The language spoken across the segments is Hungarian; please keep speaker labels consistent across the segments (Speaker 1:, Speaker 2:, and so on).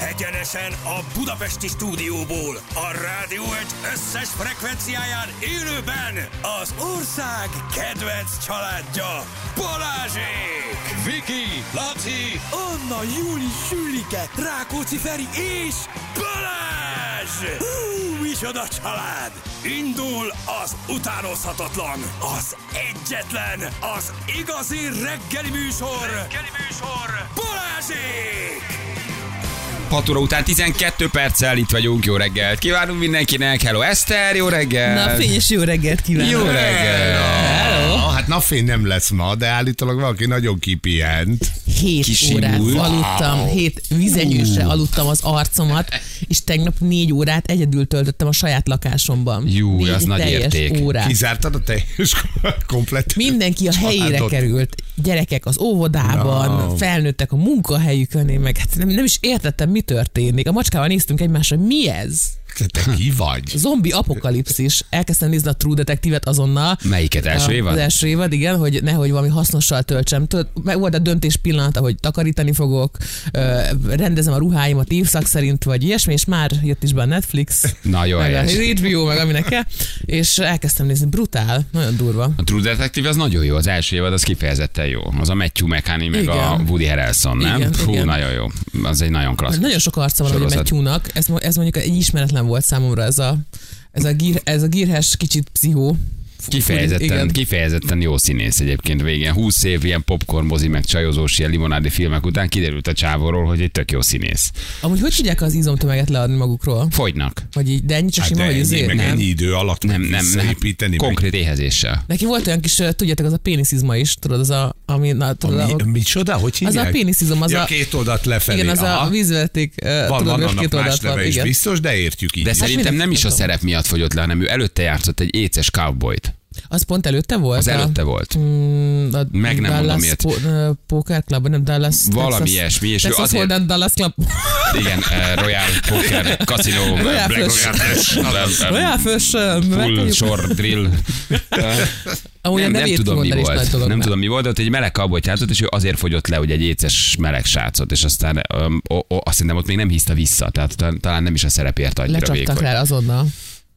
Speaker 1: Egyenesen a Budapesti stúdióból, a Rádió egy összes frekvenciáján élőben az ország kedvenc családja Balázsék!
Speaker 2: Viki, Laci,
Speaker 1: Anna, Júli, Sülike, Rákóczi Feri és Balázs! Hú, micsoda család! Indul az utánozhatatlan, az egyetlen, az igazi reggeli műsor! Reggeli műsor! Balázsék!
Speaker 2: 6 óra után 12 perccel itt vagyunk, jó reggelt kívánunk mindenkinek, hello Eszter, jó reggel!
Speaker 3: Na fény és jó reggelt kívánok!
Speaker 2: Jó reggel!
Speaker 4: Hello. Hát napfény nem lesz ma, de állítólag valaki nagyon kipihent.
Speaker 3: 7
Speaker 2: Kisimult.
Speaker 3: órát
Speaker 2: Wow.
Speaker 3: aludtam, 7 vizenyősre aludtam az arcomat, és tegnap 4 órát egyedül töltöttem a saját lakásomban.
Speaker 2: Jú,
Speaker 3: Négy
Speaker 2: az nagy
Speaker 3: teljes
Speaker 2: érték.
Speaker 3: Órát.
Speaker 4: Kizártad a teljes komplet
Speaker 3: Mindenki a helyére
Speaker 4: családot?
Speaker 3: került. Gyerekek az óvodában,
Speaker 4: Na.
Speaker 3: felnőttek a munkahelyükön, én meg hát nem, nem is értettem, mi történik. A macskával néztünk egymásra, mi ez?
Speaker 4: Te, te ki vagy?
Speaker 3: Zombi apokalipszis. Elkezdtem nézni a True Detective-et azonnal.
Speaker 2: Melyiket első
Speaker 3: Az
Speaker 2: évad?
Speaker 3: első évad, igen, hogy nehogy valami hasznossal töltsem. Tudod, meg volt a döntés pillanata, hogy takarítani fogok, ö, rendezem a ruháimat évszak szerint, vagy ilyesmi, és már jött is be a Netflix,
Speaker 2: Na jó,
Speaker 3: meg a
Speaker 2: helyes.
Speaker 3: HBO, meg aminek kell, és elkezdtem nézni. Brutál, nagyon durva.
Speaker 2: A True Detective az nagyon jó, az első évad az kifejezetten jó. Az a Matthew McCanny meg
Speaker 3: Igen.
Speaker 2: a Woody Harrelson, nem?
Speaker 3: Igen,
Speaker 2: Fú,
Speaker 3: igen. Hát
Speaker 2: nagyon jó. Az egy nagyon klassz.
Speaker 3: Nagyon sok arca van, hogy
Speaker 2: sorozat.
Speaker 3: Matthew-nak. Ez, mo- ez mondjuk egy ismeretlen volt számomra ez a, ez a, gír, ez a gírhes kicsit pszichó.
Speaker 2: Kifejezetten,
Speaker 3: Igen.
Speaker 2: kifejezetten jó színész egyébként végén. 20 év ilyen popcorn mozi, meg csajozós, ilyen limonádi filmek után kiderült a csávóról, hogy egy tök jó színész.
Speaker 3: Amúgy hogy tudják az izomtömeget leadni magukról?
Speaker 2: Fogynak.
Speaker 3: Vagy így, de ennyi csak
Speaker 4: Hát
Speaker 3: sima,
Speaker 4: de
Speaker 3: hogy
Speaker 4: ennyi,
Speaker 3: azért
Speaker 4: meg
Speaker 3: nem.
Speaker 4: ennyi idő alatt
Speaker 2: Nem, nem, nem.
Speaker 4: építeni.
Speaker 2: Konkrét éhezéssel.
Speaker 3: Neki volt olyan kis, ö, tudjátok, az a péniszizma is, tudod, az a, ami, na, tudod,
Speaker 4: Meg.
Speaker 3: a,
Speaker 4: Mi, micsoda? Hogy
Speaker 3: az
Speaker 4: hívják?
Speaker 3: a péniszizom, az
Speaker 4: ja,
Speaker 3: a,
Speaker 4: két oldalt lefelé.
Speaker 3: igen, az
Speaker 4: Aha.
Speaker 3: a vízveték, ö,
Speaker 4: van,
Speaker 3: tudod,
Speaker 4: van
Speaker 3: és
Speaker 4: annak
Speaker 3: két
Speaker 4: más
Speaker 3: oldalt van,
Speaker 4: neve is
Speaker 3: igen. Hát
Speaker 4: biztos, de értjük így.
Speaker 2: De szerintem
Speaker 3: mindenki
Speaker 2: nem is a
Speaker 3: tudom.
Speaker 2: szerep miatt fogyott le, hanem ő előtte játszott egy éces cowboyt.
Speaker 3: Az pont előtte volt?
Speaker 2: Az
Speaker 3: a-
Speaker 2: előtte volt.
Speaker 3: Mm, a
Speaker 2: Meg nem
Speaker 3: Dallas
Speaker 2: mondom miért.
Speaker 3: Po- ö, Poker Club, nem Dallas.
Speaker 2: Valami
Speaker 3: Texas-
Speaker 2: ilyesmi, és ő
Speaker 3: Texas
Speaker 2: azért-
Speaker 3: Hold'em Dallas Club.
Speaker 2: Igen, eh, Royal Poker, Casino,
Speaker 3: Royal
Speaker 2: Black
Speaker 3: Flush.
Speaker 2: Royal Flush,
Speaker 3: Olyan fős, ö,
Speaker 2: Full
Speaker 3: megkapjuk.
Speaker 2: Short Drill.
Speaker 3: Amúgy
Speaker 2: Nem, nem
Speaker 3: a nevét
Speaker 2: tudom, mi
Speaker 3: kimondani is nagy
Speaker 2: volt.
Speaker 3: dolog,
Speaker 2: Nem tudom, mi volt, de ott egy meleg kabot játszott, és ő azért fogyott le, hogy egy éces meleg srácot, és aztán öm, o, o, azt hiszem, ott még nem hiszta vissza, tehát ta- talán nem is a szerepért annyira
Speaker 3: Lecsaptak
Speaker 2: vékony.
Speaker 3: rá azonnal.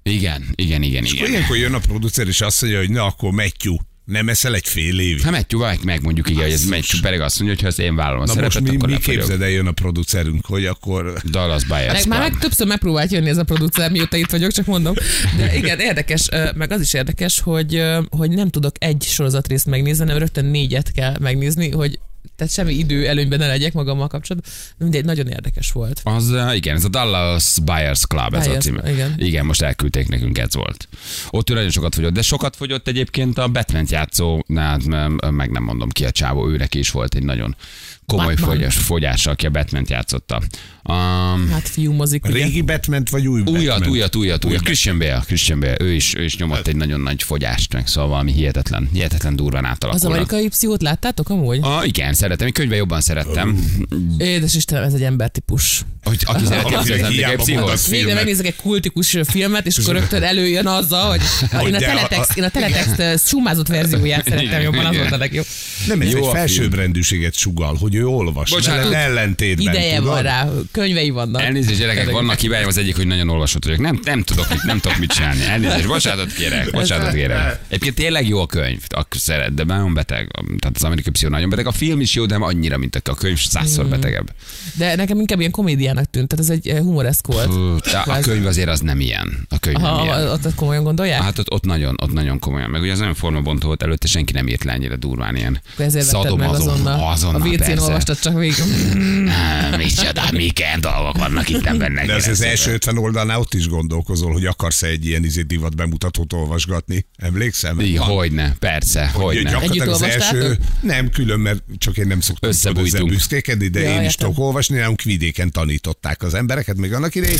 Speaker 2: Igen, igen, igen,
Speaker 4: Akkor
Speaker 2: igen.
Speaker 4: Ilyenkor jön a producer, és azt mondja, hogy na, akkor Matthew, nem eszel egy fél évig.
Speaker 3: Hát,
Speaker 2: Ha Matthew meg megmondjuk, igen, hogy ez Matthew pedig azt mondja, hogy ha ezt én vállalom a
Speaker 4: Na most
Speaker 2: szerepet,
Speaker 4: mi,
Speaker 2: akkor
Speaker 4: mi
Speaker 2: lefogyok.
Speaker 4: képzeld el, jön a producerünk, hogy akkor
Speaker 2: Dallas Buyers
Speaker 3: Meg, már
Speaker 2: Club.
Speaker 3: meg többször megpróbált jönni ez a producer, mióta itt vagyok, csak mondom. De igen, érdekes, ö, meg az is érdekes, hogy, ö, hogy nem tudok egy sorozatrészt megnézni, hanem rögtön négyet kell megnézni, hogy tehát semmi idő előnyben ne legyek magammal kapcsolatban. Mindegy, nagyon érdekes volt.
Speaker 2: Az, eh, igen, ez a Dallas Buyers Club, ez a
Speaker 3: Buyers,
Speaker 2: cím.
Speaker 3: igen.
Speaker 2: igen, most elküldték nekünk, ez volt. Ott ő nagyon sokat fogyott, de sokat fogyott egyébként a Batman játszó, na, hát nem- meg nem mondom ki a csávó, ő neki is volt egy nagyon komoly
Speaker 3: Batman.
Speaker 2: fogyás, fogyása, aki a Batman játszotta. Um,
Speaker 3: Hát fiúmozik, ugye?
Speaker 4: régi Batman vagy új Batman?
Speaker 2: újat, újat, újat, újat.
Speaker 4: Új
Speaker 2: Christian Bale, Christian Bale, ő is, ő is
Speaker 4: Hát.
Speaker 2: nyomott egy nagyon nagy fogyást, meg szóval valami hihetetlen, hihetetlen durván
Speaker 3: Az
Speaker 2: átalakulnak.
Speaker 3: amerikai pszichót láttátok amúgy?
Speaker 2: Ah, igen, szeretem, én könyvben jobban szerettem.
Speaker 3: Édes Istenem, ez egy embertípus.
Speaker 2: Hogy aki szereti,
Speaker 4: Aki
Speaker 2: az az
Speaker 4: hiába
Speaker 2: amerikai
Speaker 4: mondott
Speaker 2: pszichos.
Speaker 3: Végre
Speaker 4: Filmet.
Speaker 3: megnézek egy kultikus filmet, és akkor rögtön előjön azzal, hogy én a
Speaker 4: de a-
Speaker 3: teletext, én a teletext sumázott verzióját szerettem jobban, az volt a legjobb.
Speaker 4: Nem, ez
Speaker 2: Jó
Speaker 4: egy
Speaker 2: a
Speaker 4: felsőbbrendűséget sugal, hogy ő olvas.
Speaker 2: Bocsánat.
Speaker 4: Bocsánat, ellentétben,
Speaker 3: Ideje
Speaker 4: tudod?
Speaker 3: van rá, könyvei vannak.
Speaker 2: Elnézést, gyerekek, vannak hibáim, az egyik, hogy nagyon olvasott vagyok. Nem, nem tudok, mit, nem tudok mit csinálni. Elnézést, bocsánatot kérek, bocsánatot kérek. Egyébként tényleg jó a könyv, ak- szeret, de nagyon beteg. Tehát az amerikai pszichó nagyon beteg. A film is jó, de nem annyira, mint a könyv,
Speaker 3: Hmm.
Speaker 2: százszor betegebb.
Speaker 3: De nekem inkább ilyen komédiának tűnt, tehát ez egy eh, humoreszk
Speaker 2: Fú,
Speaker 3: volt.
Speaker 2: de A könyv azért az nem ilyen. A könyv nem
Speaker 3: Ha
Speaker 2: ilyen.
Speaker 3: ott komolyan gondolják?
Speaker 2: Hát ott, ott, nagyon, ott nagyon komolyan. Meg ugye az olyan formabontó volt előtte, senki nem írt le ennyire durván ilyen.
Speaker 3: Akkor ezért vetted meg
Speaker 2: szadomazon-
Speaker 3: azonnal.
Speaker 2: azonnal
Speaker 3: a WC-n
Speaker 2: persze.
Speaker 3: olvastad csak végig.
Speaker 2: Há, Micsoda, milyen dolgok vannak itt benne.
Speaker 4: De az, az első 50 oldalnál ott is gondolkozol, hogy akarsz egy ilyen izé divat bemutatót olvasgatni. Emlékszem?
Speaker 2: Így, Hogyne, persze, hogyne.
Speaker 4: Gyakorlatilag az
Speaker 3: Együtt
Speaker 4: első,
Speaker 3: olvastátok?
Speaker 4: nem külön, mert csak én nem szoktam tudod, ezzel
Speaker 2: Összebújtunk.
Speaker 4: büszkékedni, de
Speaker 3: Ja,
Speaker 4: én is
Speaker 3: értem.
Speaker 4: tudok olvasni, nálunk vidéken tanították az embereket, még annak idején.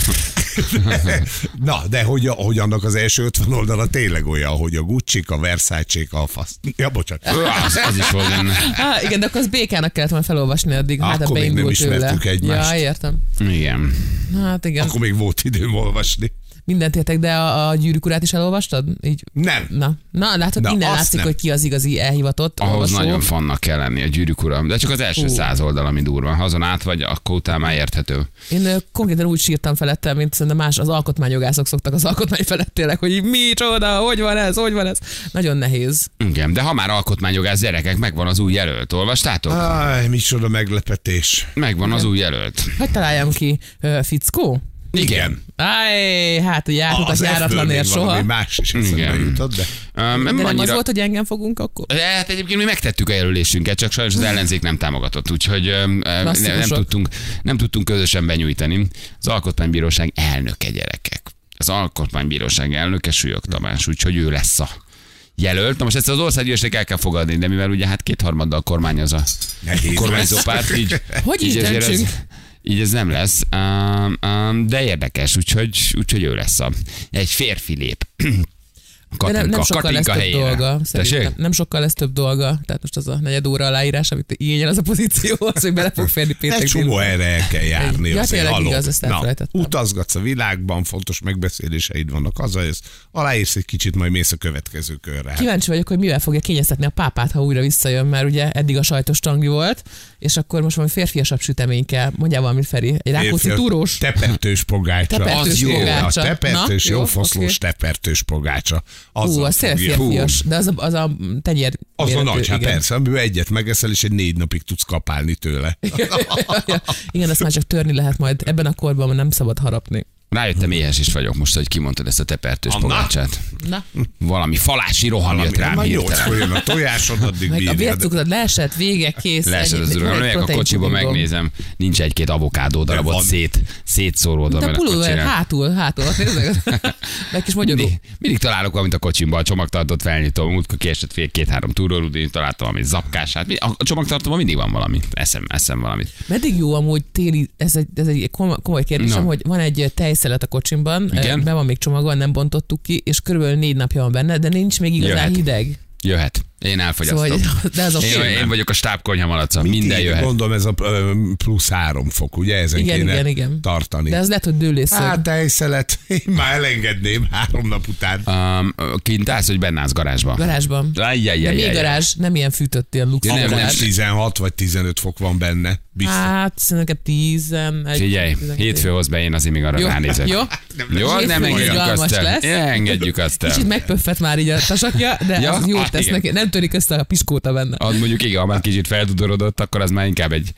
Speaker 4: Na, de hogy, a- hogy annak az első 50 oldala tényleg olyan, hogy a gucci a versace a fasz. Ja, bocsánat.
Speaker 2: Ö, Az, az is volt benne.
Speaker 3: Ah, igen, de akkor az békának kellett volna felolvasni addig, hát
Speaker 4: Akkor
Speaker 3: a
Speaker 4: még nem
Speaker 3: beindult tőle.
Speaker 4: ismertük egymást.
Speaker 3: Ja, értem.
Speaker 2: Igen.
Speaker 3: Hát igen.
Speaker 4: Akkor még volt időm olvasni.
Speaker 3: mindent értek, de a, a gyűrűk urát is elolvastad? Így,
Speaker 4: Nem.
Speaker 3: na, na látod,
Speaker 4: Na,
Speaker 3: Na, innen
Speaker 4: azt
Speaker 3: látszik,
Speaker 4: nem.
Speaker 3: hogy ki az igazi elhivatott.
Speaker 2: Ahhoz
Speaker 3: olvasó.
Speaker 2: nagyon fannak kell lenni a gyűrűk uram, de csak az első
Speaker 3: Hú.
Speaker 2: száz oldal, ami durva. Ha azon át vagy, akkor utána már érthető.
Speaker 3: Én ö, konkrétan úgy sírtam felette, mint szerintem más az alkotmányjogászok szoktak az alkotmány felett tényleg, hogy így, mi csoda, hogy van ez, hogy van ez. Nagyon nehéz.
Speaker 2: Igen, de ha már alkotmányjogász gyerekek, megvan az új jelölt. Olvastátok?
Speaker 4: Áj, micsoda meglepetés.
Speaker 2: Megvan az új jelölt.
Speaker 3: Hogy találjam ki, ö, fickó?
Speaker 2: Igen.
Speaker 3: Áj, hát ugye átutas
Speaker 4: F-ből
Speaker 3: járatlanért
Speaker 4: még valami
Speaker 3: soha.
Speaker 4: Más is eszembe
Speaker 2: Igen.
Speaker 4: jutott, de...
Speaker 2: Um,
Speaker 3: De nem az volt, hogy engem fogunk akkor?
Speaker 2: De Hát egyébként mi megtettük a jelölésünket, csak sajnos az ellenzék nem támogatott, úgyhogy öm, öm, ne, nem,
Speaker 3: Klasszikusok.
Speaker 2: tudtunk, nem tudtunk közösen benyújtani. Az Alkotmánybíróság elnöke gyerekek. Az Alkotmánybíróság elnöke Súlyog Tamás, úgyhogy ő lesz a jelölt. Na most ezt az országgyűlésnek el kell fogadni, de mivel ugye hát kétharmaddal kormányoz a
Speaker 4: Nehéz
Speaker 2: kormányzó
Speaker 4: lesz.
Speaker 2: párt, így,
Speaker 3: Hogy is
Speaker 2: így, ezért ez,
Speaker 3: döntsünk?
Speaker 2: így ez nem lesz. Um, um, de érdekes, úgyhogy, úgyhogy ő lesz a, egy férfi lép.
Speaker 3: De
Speaker 2: Katinka,
Speaker 3: nem, nem sokkal
Speaker 2: Katinka
Speaker 3: lesz
Speaker 2: helyére.
Speaker 3: több dolga.
Speaker 2: Tessék?
Speaker 3: Szerintem. Nem sokkal lesz több dolga. Tehát most az a negyed óra aláírás, amit igényel az a pozíció, az, hogy bele fog férni péntek
Speaker 4: Egy csomó
Speaker 3: délután.
Speaker 4: erre el kell járni.
Speaker 3: Ja,
Speaker 4: azért,
Speaker 3: tényleg
Speaker 4: haló.
Speaker 3: igaz, ezt elfelejtettem.
Speaker 4: utazgatsz a világban, fontos megbeszéléseid vannak, hazajössz, aláírsz egy kicsit, majd mész a következő körre. Hát,
Speaker 3: Kíváncsi vagyok, hogy mivel fogja kényeztetni a pápát, ha újra visszajön, mert ugye eddig a sajtos tangi volt, és akkor most valami férfiasabb sütemény kell. Mondjál valamit, Feri. Egy rákóczi
Speaker 4: férfiak,
Speaker 3: túrós?
Speaker 4: Tepertős pogácsa.
Speaker 3: Tepertős
Speaker 4: az jó.
Speaker 3: pogácsa.
Speaker 4: A tepertős,
Speaker 3: Na, jó,
Speaker 4: jó foszlós
Speaker 3: oké.
Speaker 4: tepertős pogácsa.
Speaker 3: Hú, az tényleg
Speaker 4: fogja-
Speaker 3: férfias, de az a, az a tegyér
Speaker 4: Az a
Speaker 3: méretű,
Speaker 4: nagy, hát
Speaker 3: igen.
Speaker 4: persze, amiből egyet megeszel, és egy négy napig tudsz kapálni tőle.
Speaker 3: Ja, igen, azt már csak törni lehet majd. Ebben a korban már nem szabad harapni.
Speaker 2: Rájöttem, éhes is vagyok most, hogy kimondtad ezt a tepertős
Speaker 4: Anna?
Speaker 2: pogácsát.
Speaker 3: Na,
Speaker 2: Valami falási roham jött rám
Speaker 4: Már nyolc
Speaker 2: hirtelen.
Speaker 4: folyjon a tojásod, addig
Speaker 3: meg a
Speaker 4: bírjad.
Speaker 3: vércukrod leesett, vége, kész.
Speaker 2: Leesett
Speaker 3: ennyi.
Speaker 2: az
Speaker 3: Van
Speaker 2: uralom,
Speaker 3: egy
Speaker 2: megyek a
Speaker 3: protein
Speaker 2: kocsiba,
Speaker 3: pudingom.
Speaker 2: megnézem, nincs egy-két avokádó darabot
Speaker 4: van.
Speaker 2: szét, szétszóródva
Speaker 3: De a
Speaker 2: vele a
Speaker 3: pulóver
Speaker 2: kocsira.
Speaker 3: hátul, hátul, ott nézzük. Meg kis magyarul.
Speaker 2: Mindig, mindig találok valamit a kocsimba, a csomagtartót felnyitom, múltkor kiesett fél két-három túrórudin, találtam valami zapkását. Mi- A csomagtartóban mindig van valami, eszem, eszem valamit.
Speaker 3: Meddig jó amúgy téli, ez egy, ez egy kom- komoly kérdésem,
Speaker 2: Na.
Speaker 3: hogy van egy tejszelet a kocsimban,
Speaker 2: Igen.
Speaker 3: Igen? be van még csomagolva, nem bontottuk ki, és körülbelül négy napja van benne, de nincs még igazán
Speaker 2: Jöhet.
Speaker 3: Jöhet. hideg.
Speaker 2: Jöhet. Én elfogyasztom.
Speaker 3: Szóval, de az oké.
Speaker 2: én, én, vagyok a stábkonyha malaca, minden
Speaker 4: Így,
Speaker 2: jöhet.
Speaker 4: Gondolom ez a ö, plusz három fok, ugye? Ezen
Speaker 3: Igen,
Speaker 4: kéne
Speaker 3: igen, igen.
Speaker 4: tartani.
Speaker 3: De az lehet, hogy dőlészög.
Speaker 4: Hát, tejszelet, én már elengedném három nap után.
Speaker 2: Um, kint állsz, hogy benne állsz garázsban?
Speaker 3: garázsban. De
Speaker 2: Ajjajajajaj.
Speaker 3: még garázs, nem ilyen fűtött, ilyen luxus
Speaker 2: Ja, nem,
Speaker 4: Nem,
Speaker 3: garázs.
Speaker 4: nem,
Speaker 2: nem.
Speaker 4: 16 vagy 15 fok van benne, biztos.
Speaker 3: Hát, szerintem 10, egy,
Speaker 2: Figyelj,
Speaker 3: 12.
Speaker 2: hétfő hoz be, én azért még arra
Speaker 3: Jó,
Speaker 2: ránézek.
Speaker 3: jó.
Speaker 2: Jó,
Speaker 3: Hétfő
Speaker 2: nem engedjük
Speaker 3: izgalmas
Speaker 2: azt el.
Speaker 3: lesz.
Speaker 2: Ne engedjük azt el.
Speaker 3: Kicsit megpöffett már így a tasakja, de
Speaker 2: Ja,
Speaker 3: ja? az
Speaker 2: ah,
Speaker 3: jót tesz
Speaker 2: igen.
Speaker 3: neki. Nem törik össze a piskóta benne.
Speaker 2: Az mondjuk igen, ha már kicsit feltudorodott, akkor az már inkább egy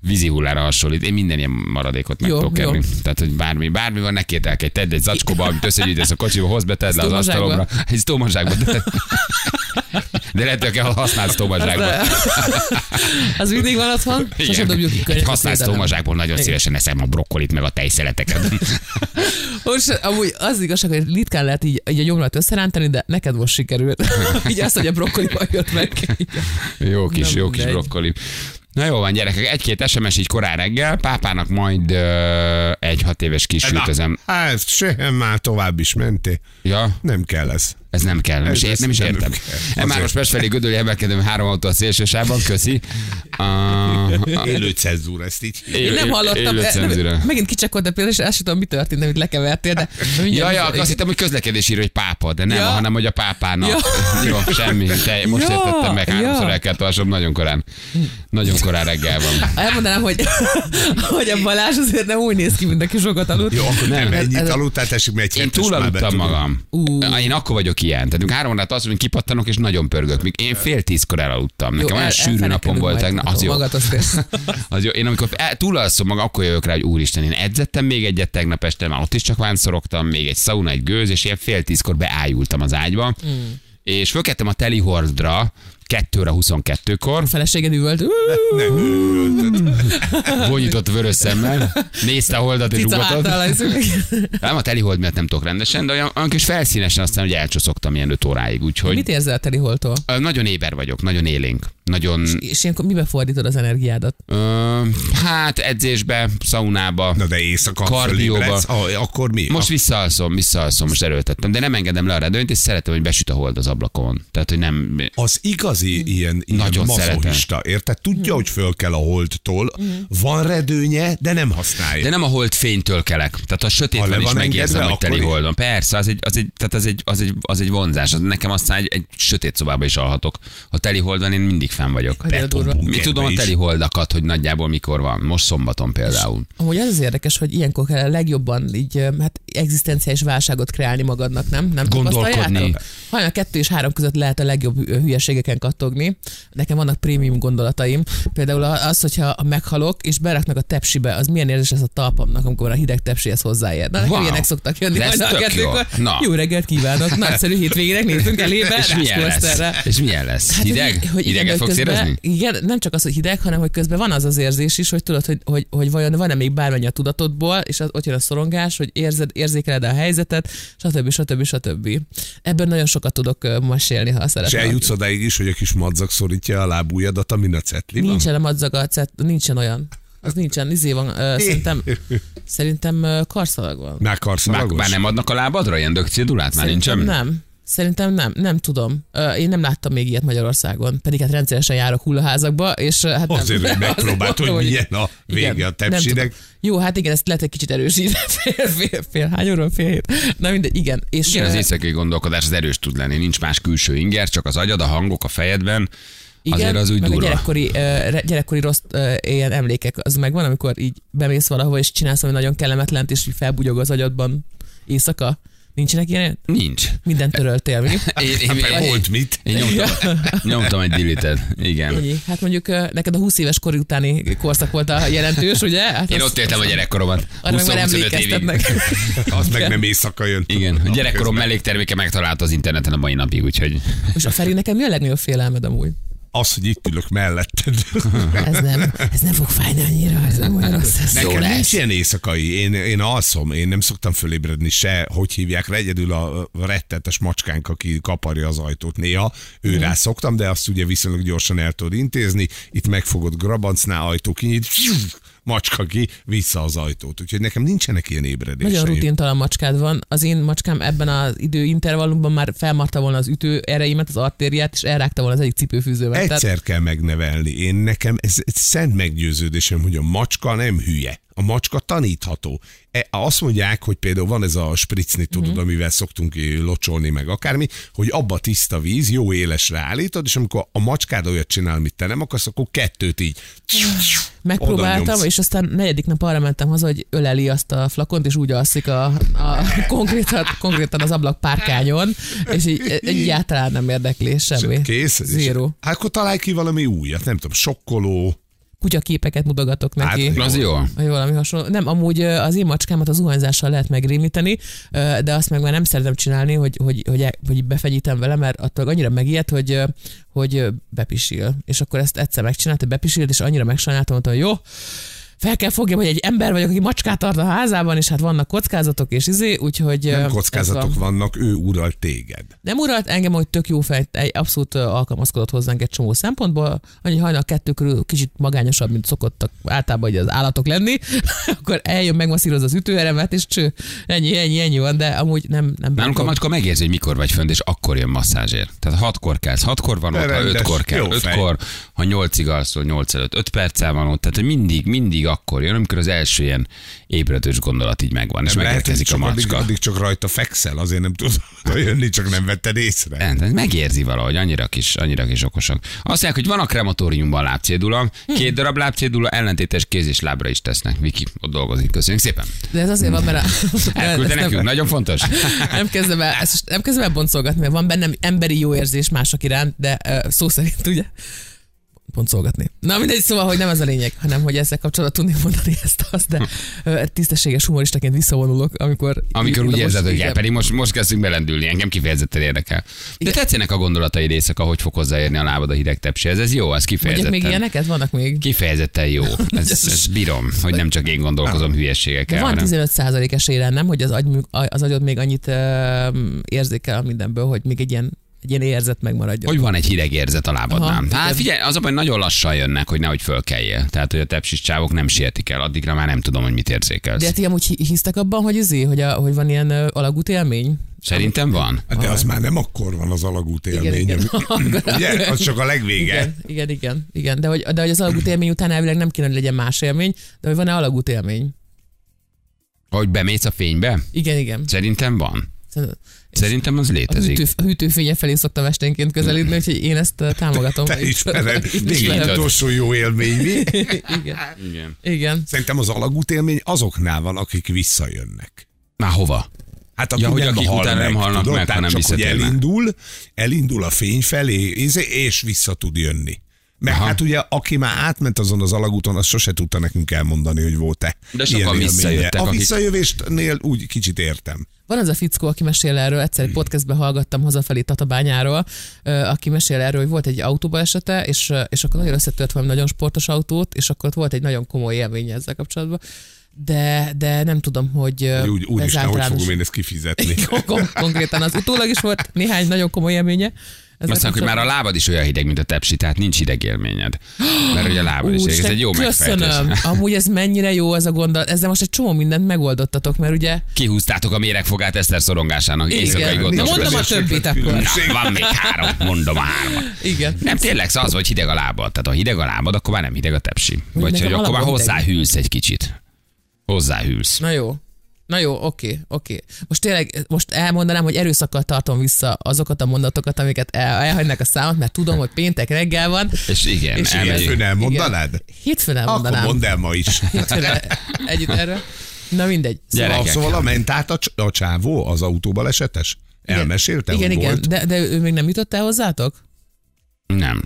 Speaker 2: vízi hullára hasonlít. Én minden ilyen maradékot meg
Speaker 3: Jó,
Speaker 2: tudok
Speaker 3: jó.
Speaker 2: kerni. Tehát, hogy bármi, bármi van, ne kételkedj, tedd egy zacskóba, amit összegyűjtesz a kocsiba, hozd be, tedd le az
Speaker 3: Sztómazsákba.
Speaker 2: asztalomra. Egy sztómazsákba. De, de lehet, hogy kell használsz sztómazsákba.
Speaker 3: Az mindig van otthon, sosem dobjuk ki
Speaker 2: Egy
Speaker 3: környezetvédelem.
Speaker 2: használsz sztómazsákból nagyon
Speaker 3: Igen.
Speaker 2: szívesen eszem a brokkolit, meg a tejszeleteket.
Speaker 3: Most amúgy az igazság, hogy ritkán lehet így, így a gyomrat összerántani, de neked most sikerült. így azt, hogy a brokkolival jött meg.
Speaker 2: Jó kis,
Speaker 3: Nem
Speaker 2: jó kis
Speaker 3: mindegy.
Speaker 2: brokkoli. Na jó van, gyerekek, egy-két SMS így korán reggel, pápának majd ö, egy hat éves
Speaker 4: Na,
Speaker 2: kisültözem.
Speaker 4: Hát, sehem már tovább is mentél.
Speaker 2: Ja,
Speaker 4: Nem kell ez.
Speaker 2: ez nem kell, nem,
Speaker 4: Ez-
Speaker 2: is, ér,
Speaker 4: ez
Speaker 2: nem is
Speaker 4: nem
Speaker 2: értem.
Speaker 4: kell.
Speaker 2: Én már
Speaker 4: Azért.
Speaker 2: most Pestfelé Gödöli emelkedem három autó a szélsősában, köszi. Uh,
Speaker 4: Élő cenzúra, ezt így hívják.
Speaker 3: Én nem hallottam. eh, Nem, megint kicsakodtam például, és azt sem tudom, mi történt, amit lekevertél, de
Speaker 2: Ja, ja,
Speaker 3: igen.
Speaker 2: azt hittem, hogy közlekedés ír, hogy pápa, de nem,
Speaker 3: Ja.
Speaker 2: hanem hogy a pápának.
Speaker 3: Ja.
Speaker 2: Jó, semmi. Te, most
Speaker 3: Ja,
Speaker 2: értettem meg,
Speaker 3: ja.
Speaker 2: háromszor el kell tartsom, nagyon korán. Nagyon korán reggel van.
Speaker 3: Elmondanám, hogy, hogy a Balázs azért nem úgy néz ki, mint aki sokat aludt.
Speaker 4: Jó, akkor
Speaker 2: Nem,
Speaker 4: nem,
Speaker 2: ez-
Speaker 4: ennyit
Speaker 3: ez-
Speaker 4: aludtál, tessék, mert egy
Speaker 2: Én
Speaker 4: hetest már
Speaker 2: túlaludtam
Speaker 4: betudom.
Speaker 2: magam.
Speaker 3: Ú.
Speaker 2: Én akkor vagyok ilyen. Tehát három órát azt mondom, kipattanok, és nagyon pörgök. Még Én fél tízkor elaludtam. Nekem
Speaker 3: Jó,
Speaker 2: olyan
Speaker 3: el-
Speaker 2: sűrű
Speaker 3: elfenekelünk
Speaker 2: napom volt
Speaker 3: majd.
Speaker 2: tegnap. Az jó.
Speaker 3: Magad azt érsz.
Speaker 2: Az jó. Én amikor el- túlalszom magam, akkor jövök rá, hogy úristen, én edzettem még egyet tegnap este, már ott is csak vánszorogtam, még egy szauna, egy gőz, és ilyen fél tízkor beájultam az ágyba.
Speaker 3: Hmm.
Speaker 2: És fölkettem a teli hordra, 2 óra 22-kor,
Speaker 3: feleséged üvölt. "Ú,
Speaker 4: Nem, őrülted.
Speaker 2: vonyított vörös szemmel, nézte a holdat és
Speaker 3: Cica
Speaker 2: ugatott.
Speaker 3: által.
Speaker 2: Nem, a teli hold miatt nem tudok rendesen, de olyan, olyan kis felszínesen aztán, hogy elcsoszogtam ilyen 5 óráig, úgyhogy...
Speaker 3: Mit érzel a teliholtól?
Speaker 2: Ö, Nagyon éber vagyok, nagyon élénk. Nagyon,
Speaker 3: És ilyenkor mibe fordítod az energiádat?
Speaker 2: ö, hát edzésbe, szaunába.
Speaker 4: Na de éjszaka
Speaker 2: Kardióba.
Speaker 4: fölébredsz, ah, akkor mi?
Speaker 2: Most visszaalszom, visszaalszom, most erőltettem, de nem engedem le a redőnyt, és szeretem, hogy besüt a hold az ablakon. Tehát, hogy nem...
Speaker 4: az
Speaker 3: Mm.
Speaker 4: igazi ilyen, ilyen
Speaker 2: Nagyon
Speaker 4: Nagyon mazohista, érted? Tudja, hogy föl kell a holdtól,
Speaker 3: Mm.
Speaker 4: van redőnye, de nem használja.
Speaker 2: De nem a hold fénytől kelek. Tehát a sötét
Speaker 4: Ha
Speaker 2: van,
Speaker 4: le
Speaker 2: is
Speaker 4: van
Speaker 2: megérzem,
Speaker 4: engedve,
Speaker 2: hogy teli
Speaker 4: akkor-
Speaker 2: hold van. Persze, az egy, az egy, tehát az egy, az egy, az egy vonzás. Az nekem aztán egy, egy sötét szobában is alhatok. Ha teli hold van, én mindig fenn vagyok.
Speaker 3: Annyira
Speaker 4: Beton
Speaker 3: durva.
Speaker 4: bú-
Speaker 2: Mi
Speaker 4: Kenbe
Speaker 2: tudom a
Speaker 4: is.
Speaker 2: teli holdakat, hogy nagyjából mikor van. Most szombaton például.
Speaker 3: Amúgy az az érdekes, hogy ilyenkor kell a legjobban így, ö, hát egzisztenciális válságot kreálni magadnak, nem? nem
Speaker 2: Gondolkodni.
Speaker 3: tapasztaljátok? Hajnal kettő és három között lehet a legjobb ö, hülyeségeken kattogni. Nekem vannak prémium gondolataim. Például a- az, hogyha meghalok és beraknak a tepsibe, az milyen érzés lesz a talpamnak, amikor a hideg tepsihez hozzáér. Na, nekem
Speaker 2: Wow.
Speaker 3: ilyenek szoktak jönni
Speaker 2: De ez
Speaker 3: hajnal
Speaker 2: tök jó.
Speaker 3: kettőkor.
Speaker 2: Na.
Speaker 3: Jó reggelt kívánok, nagyszerű hétvégének nézzünk elébe.
Speaker 2: És milyen lesz?
Speaker 3: Rászkózterre.
Speaker 2: És milyen lesz? Hideg?
Speaker 3: Hát, hogy- hogy igen,
Speaker 2: Hideget
Speaker 3: hogy
Speaker 2: fogsz
Speaker 3: közben-
Speaker 2: érezni?
Speaker 3: Igen, nem csak az, hogy hideg, hanem hogy közben van az az érzés is, hogy tudod, hogy, hogy, hogy vajon van-e még bármennyi a tudatodból, és az, ott jön a szorongás, hogy érzed, érzékeled a helyzetet, stb. stb. stb. Ebben nagyon sokat tudok ö, mesélni, ha
Speaker 4: És
Speaker 3: szeretném.
Speaker 4: eljutsz odáig is, hogy a kis madzag szorítja a lábújadat, amin a cetli van.
Speaker 3: Nincsen a madzaga, cet, nincsen olyan. Az nincsen, izé van, ö, szerintem, szerintem ö, karszalag van.
Speaker 4: Már
Speaker 2: Már,
Speaker 4: karszalagos?
Speaker 2: már nem adnak a lábadra ilyen dögcédulát? Már nincs
Speaker 3: Szerintem
Speaker 2: semmi?
Speaker 3: Nem. Szerintem nem, nem tudom. Ö, Én nem láttam még ilyet Magyarországon, pedig hát rendszeresen járok hullaházakba, és ö, hát nem.
Speaker 4: Azért, hogy megpróbált,
Speaker 3: Azért
Speaker 4: hogy
Speaker 3: mondom,
Speaker 4: milyen a
Speaker 3: Igen,
Speaker 4: vége a
Speaker 3: nem
Speaker 4: tepsinek.
Speaker 3: tudom. Jó, hát igen, ezt lehet egy kicsit erősíteni. Fél, fél, fél, hány óra, van? fél hét. Na mindegy, igen. És
Speaker 2: Igen, az
Speaker 3: ö,
Speaker 2: éjszakai gondolkodás az erős tud lenni, nincs más külső inger, csak az agyad, a hangok a fejedben,
Speaker 3: igen,
Speaker 2: azért az úgy
Speaker 3: meg A
Speaker 2: durva.
Speaker 3: gyerekkori, ö, re- gyerekkori rossz ö, ilyen emlékek, az megvan, amikor így bemész valahova, és csinálsz valami nagyon kellemetlent, és így felbugyog az agyadban éjszaka. Nincsenek ilyen?
Speaker 2: Nincs.
Speaker 3: Mindent töröltél, mi?
Speaker 2: Én, én,
Speaker 4: Hát, volt mit.
Speaker 2: én nyomtam, nyomtam egy dilitet, igen.
Speaker 3: Ennyi. Hát mondjuk ö, neked a 20 éves kor utáni korszak volt a jelentős, ugye? Hát
Speaker 2: Én
Speaker 3: az-
Speaker 2: ott éltem a gyerekkoromat.
Speaker 3: arra meg már
Speaker 2: 20-25 évig.
Speaker 3: emlékeztetnek.
Speaker 4: Az meg nem éjszaka jön.
Speaker 2: Igen, a
Speaker 4: Nap
Speaker 2: gyerekkorom
Speaker 4: közben.
Speaker 2: mellékterméke megtalálta az interneten a mai napig, úgyhogy
Speaker 3: Most a Feri, nekem mi a legnagyobb félelmed amúgy?
Speaker 4: Az, hogy itt ülök melletted.
Speaker 3: Ez nem, ez nem fog fájni annyira, ez nem olyan rossz. Ez
Speaker 4: Nekem
Speaker 3: lesz.
Speaker 4: nincs ilyen éjszakai, én, én alszom, én nem szoktam fölébredni se, hogy hívják rá, egyedül a rettetes macskánk, aki kaparja az ajtót néha, ő rá szoktam, de azt ugye viszonylag gyorsan el tudod intézni, itt megfogod grabancnál, ajtó kinyit, macska ki, vissza az ajtót. Úgyhogy nekem nincsenek ilyen ébredéseim.
Speaker 3: Nagyon rutintalan macskád van. Az én macskám ebben az időintervallumban már felmarta volna az ütő ereimet, az artériát, és elrágta volna az egyik cipőfűzővel.
Speaker 4: Egyszer kell megnevelni. Én nekem ez, ez szent meggyőződésem, hogy a macska nem hülye. A macska tanítható. E, azt mondják, hogy például van ez a spricni, tudod,
Speaker 3: Mhm.
Speaker 4: mm-hmm. amivel szoktunk eh, locsolni, meg akármi, hogy abba tiszta víz, jó élesre állítod, és amikor a macskád olyat csinál, amit te nem akarsz, akkor kettőt így. oda
Speaker 3: Megpróbáltam,
Speaker 4: nyomsz.
Speaker 3: és aztán negyedik nap arra mentem haza, hogy öleli azt a flakont, és úgy alszik a, a konkrétan, konkrétan az ablak párkányon, és így egyáltalán nem érdekli semmi.
Speaker 4: Kész. És-
Speaker 3: Zero.
Speaker 4: Hát akkor találj ki valami újat, nem tudom, sokkoló.
Speaker 3: Kutyaképeket mutogatok
Speaker 4: Hát,
Speaker 3: neki.
Speaker 2: az jó.
Speaker 3: vagy valami hasonló. Nem, amúgy ö, az én macskámat az zuhanyzással lehet megrémíteni, ö, de azt meg már nem szeretem csinálni, hogy, hogy, hogy, e, hogy befegyítem vele, mert attól annyira megijed, hogy, ö, hogy ö, bepisil. És akkor ezt egyszer megcsinálta, bepisilt, és annyira megsajnáltam, mondtam, hogy jó, fel kell fogjam, hogy egy ember vagyok, aki macskát tart a házában, és hát vannak kockázatok, és izé, úgyhogy... ö,
Speaker 4: Nem
Speaker 3: ez van.
Speaker 4: kockázatok vannak, ő ural téged.
Speaker 3: Nem uralt engem, hogy tök jó fej, egy abszolút ö, alkalmazkodott hozzánk egy csomó szempontból, annyi hajnal kettő körül kicsit magányosabb, mint szokottak általában ugye az állatok lenni, akkor eljön, megmasszírozza az ütőeremet, és cső, ennyi, ennyi, ennyi van, de amúgy nem, nem
Speaker 2: Nálunk a
Speaker 3: bántom.
Speaker 2: macska megérzi, hogy mikor vagy fönt, és akkor jön masszázsért. Tehát hatkor kezd, hatkor van ott, ha
Speaker 4: Rendes,
Speaker 2: ötkor kell,
Speaker 4: jó fej.
Speaker 2: ötkor, ha nyolcig alszol, nyolc előtt, öt perccel van ott. Tehát hogy mindig, mindig akkor jön, amikor az első ilyen ébredős gondolat így megvan, és
Speaker 4: Nem, lehet, hogy
Speaker 2: megérkezik a
Speaker 4: csak addig,
Speaker 2: macska.
Speaker 4: addig csak rajta fekszel, azért nem tudod jönni, csak nem vetted észre.
Speaker 2: Nem, tehát megérzi valahogy, annyira kis, annyira kis okosak. Azt mondják, hogy van a krematóriumban lábcédula,
Speaker 4: Hm.
Speaker 2: két darab lábcédula, ellentétes kéz és lábra is tesznek. Viki, ott dolgozik. Köszönjük szépen.
Speaker 3: De ez azért van, mert a...
Speaker 2: Elküldte
Speaker 3: ezt
Speaker 2: nekünk,
Speaker 3: nem,
Speaker 2: nagyon fontos.
Speaker 3: nem, kezdem el, ezt nem kezdem el boncolgatni, mert van bennem emberi jó érzés mások iránt, de ö, szó szerint ugye boncolgatni. Na mindegy, szóval, hogy nem ez a lényeg, hanem hogy ezzel kapcsolatban tudnék mondani ezt azt, de ö, tisztességes humoristaként visszavonulok, amikor...
Speaker 2: Amikor úgy
Speaker 3: most-
Speaker 2: érzed, hogy
Speaker 3: igen.
Speaker 2: kell, pedig most, most kezdünk belendülni, engem kifejezetten érdekel. De tetszenek a gondolatai részek, ahogy fog hozzáérni a lábad a hideg tepsihez. Ez jó, ez
Speaker 3: Mondjak
Speaker 2: kifejezetten.
Speaker 3: még ilyeneket? Vannak még?
Speaker 2: Kifejezetten jó. Ez, ez bírom, hogy nem csak én gondolkozom
Speaker 3: De
Speaker 2: hülyeségekkel.
Speaker 3: Ah. van
Speaker 2: hanem-
Speaker 3: 15% esély rá, nem, hogy az, agy, az agyod még annyit ö, érzékel mindenből, hogy még egy ilyen egy ilyen érzet megmaradjon.
Speaker 2: Hogy van egy hideg érzet a lábadnál.
Speaker 3: Aha,
Speaker 2: Hát
Speaker 3: igen.
Speaker 2: figyelj, az a baj, nagyon lassan jönnek, hogy nehogy fölkeljél. Tehát, hogy a tepsis csávok nem sietik el, addigra már nem tudom, hogy mit
Speaker 3: De hát
Speaker 2: érzékelsz.
Speaker 3: ti amúgy hi- hisztek abban, hogy izé, hogy, a, hogy van ilyen ö, alagút élmény?
Speaker 2: Szerintem van.
Speaker 4: Hát De az már nem akkor van az alagút élmény.
Speaker 3: igen.
Speaker 4: ami- Ugye? Az csak a legvége.
Speaker 3: Igen, igen, igen, igen. De, hogy, de hogy az alagút élmény után elvileg nem kéne, hogy legyen más élmény, de hogy van-e alagút élmény?
Speaker 2: Hogy bemész a fénybe?
Speaker 3: Igen, igen.
Speaker 2: Szerintem van.
Speaker 3: Szerintem-
Speaker 2: Szerintem az
Speaker 3: A,
Speaker 2: létezik.
Speaker 3: hűtő, a hűtőfénye felé szoktam esténként közelíteni, úgyhogy én ezt ö, támogatom.
Speaker 4: Te ismered.
Speaker 3: Én
Speaker 4: Még
Speaker 3: ismerem.
Speaker 4: egy utolsó jó élmény. Mi?
Speaker 3: Igen.
Speaker 2: Igen.
Speaker 3: igen.
Speaker 4: Szerintem az alagút élmény azoknál van, akik visszajönnek.
Speaker 2: Már hova?
Speaker 4: Hát aki
Speaker 2: Ja, hogy
Speaker 4: nem
Speaker 2: akik
Speaker 4: hal
Speaker 2: utána
Speaker 4: meg,
Speaker 2: nem halnak
Speaker 4: tudod?
Speaker 2: meg,
Speaker 4: Tehát
Speaker 2: hanem
Speaker 4: csak, hogy
Speaker 2: visszatérnek.
Speaker 4: elindul, elindul a fény felé, izé, és vissza tud jönni. Mert
Speaker 2: Aha.
Speaker 4: hát ugye, aki már átment azon az alagúton, az sose tudta nekünk elmondani, hogy volt-e.
Speaker 2: De sokan
Speaker 4: ilyen élménye.
Speaker 2: visszajöttek,
Speaker 4: A
Speaker 2: akik-
Speaker 4: visszajövésnél úgy kicsit értem.
Speaker 3: Van az a fickó, aki mesél erről, egyszer egy podcastben hallgattam hazafelé Tatabányáról, ö, aki mesél erről, hogy volt egy autóba esete, és, ö, és akkor nagyon összetört valami nagyon sportos autót, és akkor ott volt egy nagyon komoly élménye ezzel kapcsolatban. De, de nem tudom, hogy... uh, ö,
Speaker 4: Úgy, úgy
Speaker 3: ez
Speaker 4: is, nem, hogy
Speaker 3: általános-
Speaker 4: fogom én ezt kifizetni.
Speaker 3: Kon- konkrétan az utólag is volt néhány nagyon komoly élménye. Ez
Speaker 2: Azt mondják, hogy már a lábad is olyan hideg, mint a tepsi, tehát nincs hideg élményed. Mert hogy a lábad is hideg, ez egy jó
Speaker 3: Köszönöm.
Speaker 2: megfejtés.
Speaker 3: Amúgy ez mennyire jó ez a gondolat. Ezzel most egy csomó mindent megoldottatok, mert ugye...
Speaker 2: Kihúztátok a méregfogát Eszter szorongásának éjszakai
Speaker 3: Na,
Speaker 2: gondos
Speaker 3: mondom a
Speaker 2: között.
Speaker 3: többit akkor.
Speaker 2: Na, van még három, mondom a három.
Speaker 3: Igen.
Speaker 2: Nem, tényleg szóval az, hogy hideg a lábad. Tehát ha hideg a lábad, akkor már nem hideg a tepsi. Vagy
Speaker 3: nekem
Speaker 2: hogy akkor már
Speaker 3: alapból hideg.
Speaker 2: hozzáhűlsz egy kicsit. Hozzáhűlsz.
Speaker 3: Na jó. Na jó, oké, oké. Most tényleg, most elmondanám, hogy erőszakkal tartom vissza azokat a mondatokat, amiket el, elhagynak a számot, mert tudom, hogy péntek reggel van.
Speaker 2: És igen,
Speaker 3: És igen.
Speaker 2: elmegyünk.
Speaker 4: Ön elmondanád?
Speaker 3: Hétfőn
Speaker 4: Akkor
Speaker 3: elmondanám.
Speaker 4: mondd el ma is.
Speaker 3: Hétfőn el- együtt erről. Na mindegy. Szóval,
Speaker 2: Gyerekek.
Speaker 4: Gyerekek. Szóval a ment át a, cs- a csávó, az autóbal esetes? Elmesélte,
Speaker 3: igen,
Speaker 4: hogy
Speaker 3: igen,
Speaker 4: volt?
Speaker 3: De, de ő még nem jutott el hozzátok?
Speaker 2: Nem,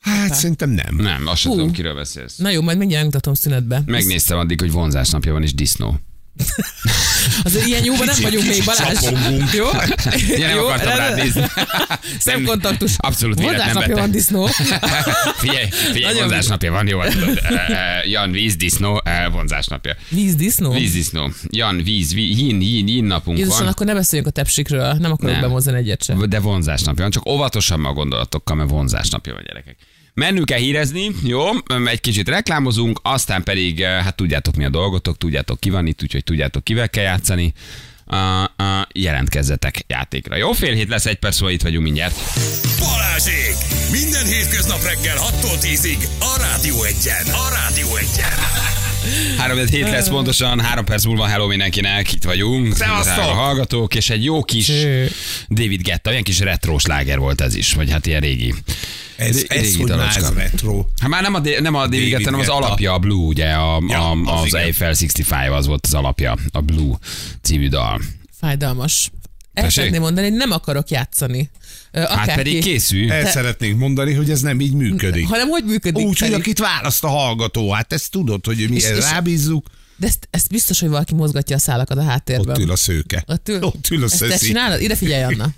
Speaker 4: Hát szerintem nem.
Speaker 2: nem, azt sem
Speaker 3: Hú.
Speaker 2: tudom, kiről beszélsz.
Speaker 3: Na jó, majd mindjárt mutatom szünetbe.
Speaker 2: Megnéztem addig, hogy vonzás napja van, és disznó.
Speaker 3: Azért ilyen jóban nem vagyunk még, Balázs.
Speaker 4: csapongunk.
Speaker 3: Jó?
Speaker 2: Ja, nem akartam
Speaker 3: rendben.
Speaker 2: rád nézni.
Speaker 3: Szemkontaktus.
Speaker 2: Abszolút véletlen
Speaker 3: Vonzásnapja
Speaker 2: vettem.
Speaker 3: van disznó.
Speaker 2: figyelj, figyelj,
Speaker 3: Nagyon
Speaker 2: vonzás napja van, jó, hát tudod. Ö, ö, Jan víz, disznó, ö, vonzás napja.
Speaker 3: Víz disznó?
Speaker 2: Víz, disznó. Jan víz, ví, hín, hín, hín napunk
Speaker 3: Jézusom,
Speaker 2: van.
Speaker 3: akkor ne beszéljünk a tepsikről, nem akarok
Speaker 2: Nem.
Speaker 3: bemozzani egyet sem.
Speaker 2: De vonzás napja van, csak óvatosan ma a gondolatokkal, mert vonzás napja van, gyerekek. Mennünk kell hírezni, jó, Öm, egy kicsit reklámozunk, aztán pedig, eh, hát tudjátok mi a dolgotok, tudjátok ki van itt, úgyhogy tudjátok kivel kell játszani. Uh, uh, jelentkezzetek játékra. Jó, fél hét lesz, egy perc múlva itt vagyunk mindjárt.
Speaker 1: Balázsék! Minden hétköznap reggel 6-tól 10-ig a Rádió Egyen. A Rádió Egyen.
Speaker 2: 3 hét lesz pontosan, három perc múlva hello mindenkinek, itt vagyunk.
Speaker 4: Szevasztok!
Speaker 2: Drága hallgatók, és egy jó kis
Speaker 3: Cső.
Speaker 2: David Getta, ilyen kis retrós láger volt ez is, vagy hát ilyen régi.
Speaker 4: Ez,
Speaker 2: Ré-
Speaker 4: ez
Speaker 2: régi
Speaker 4: hogy már
Speaker 2: dalocska.
Speaker 4: ez retro.
Speaker 2: Hát már nem a, nem a David, Getta, hanem az
Speaker 4: Guetta.
Speaker 2: alapja, a Blue, ugye, a,
Speaker 4: Ja,
Speaker 2: ja, a,
Speaker 4: az
Speaker 2: az, az
Speaker 4: igen.
Speaker 2: Eiffel 65, az volt az alapja, a Blue című dal.
Speaker 3: Fájdalmas. El
Speaker 2: Tessék?
Speaker 3: szeretném mondani, nem akarok játszani. Ö,
Speaker 2: Hát
Speaker 3: akárki.
Speaker 2: pedig készül.
Speaker 4: El szeretnénk mondani, hogy ez nem így működik.
Speaker 3: Hanem hogy működik?
Speaker 4: Úgy, hogy
Speaker 3: pedig?
Speaker 4: akit választ a hallgató, hát ezt tudod, hogy mi
Speaker 3: És-
Speaker 4: erre
Speaker 3: és-
Speaker 4: rábízzuk,
Speaker 3: De ezt, ezt biztos, hogy valaki mozgatja a szálakat a háttérben.
Speaker 4: ott ül a szőke.
Speaker 3: Ott ül,
Speaker 4: Ott ül a
Speaker 3: Ezt te
Speaker 4: szeszi.
Speaker 3: csinálod? Ide figyelj, Anna.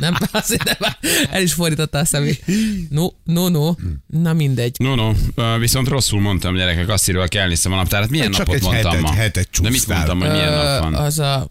Speaker 3: Nem, azért nem, el is fordította a szemét. No, no, no. Na mindegy.
Speaker 2: No, no, Ö, viszont rosszul mondtam, gyerekek, azt írva kell néztem a naptárat. Milyen
Speaker 4: Csak
Speaker 2: napot
Speaker 4: egy
Speaker 2: mondtam
Speaker 4: hetet-
Speaker 2: ma?
Speaker 4: hetet
Speaker 2: De mit
Speaker 4: csúsztál.
Speaker 2: mondtam, hogy milyen
Speaker 3: Ö,
Speaker 2: nap van?
Speaker 3: Az a...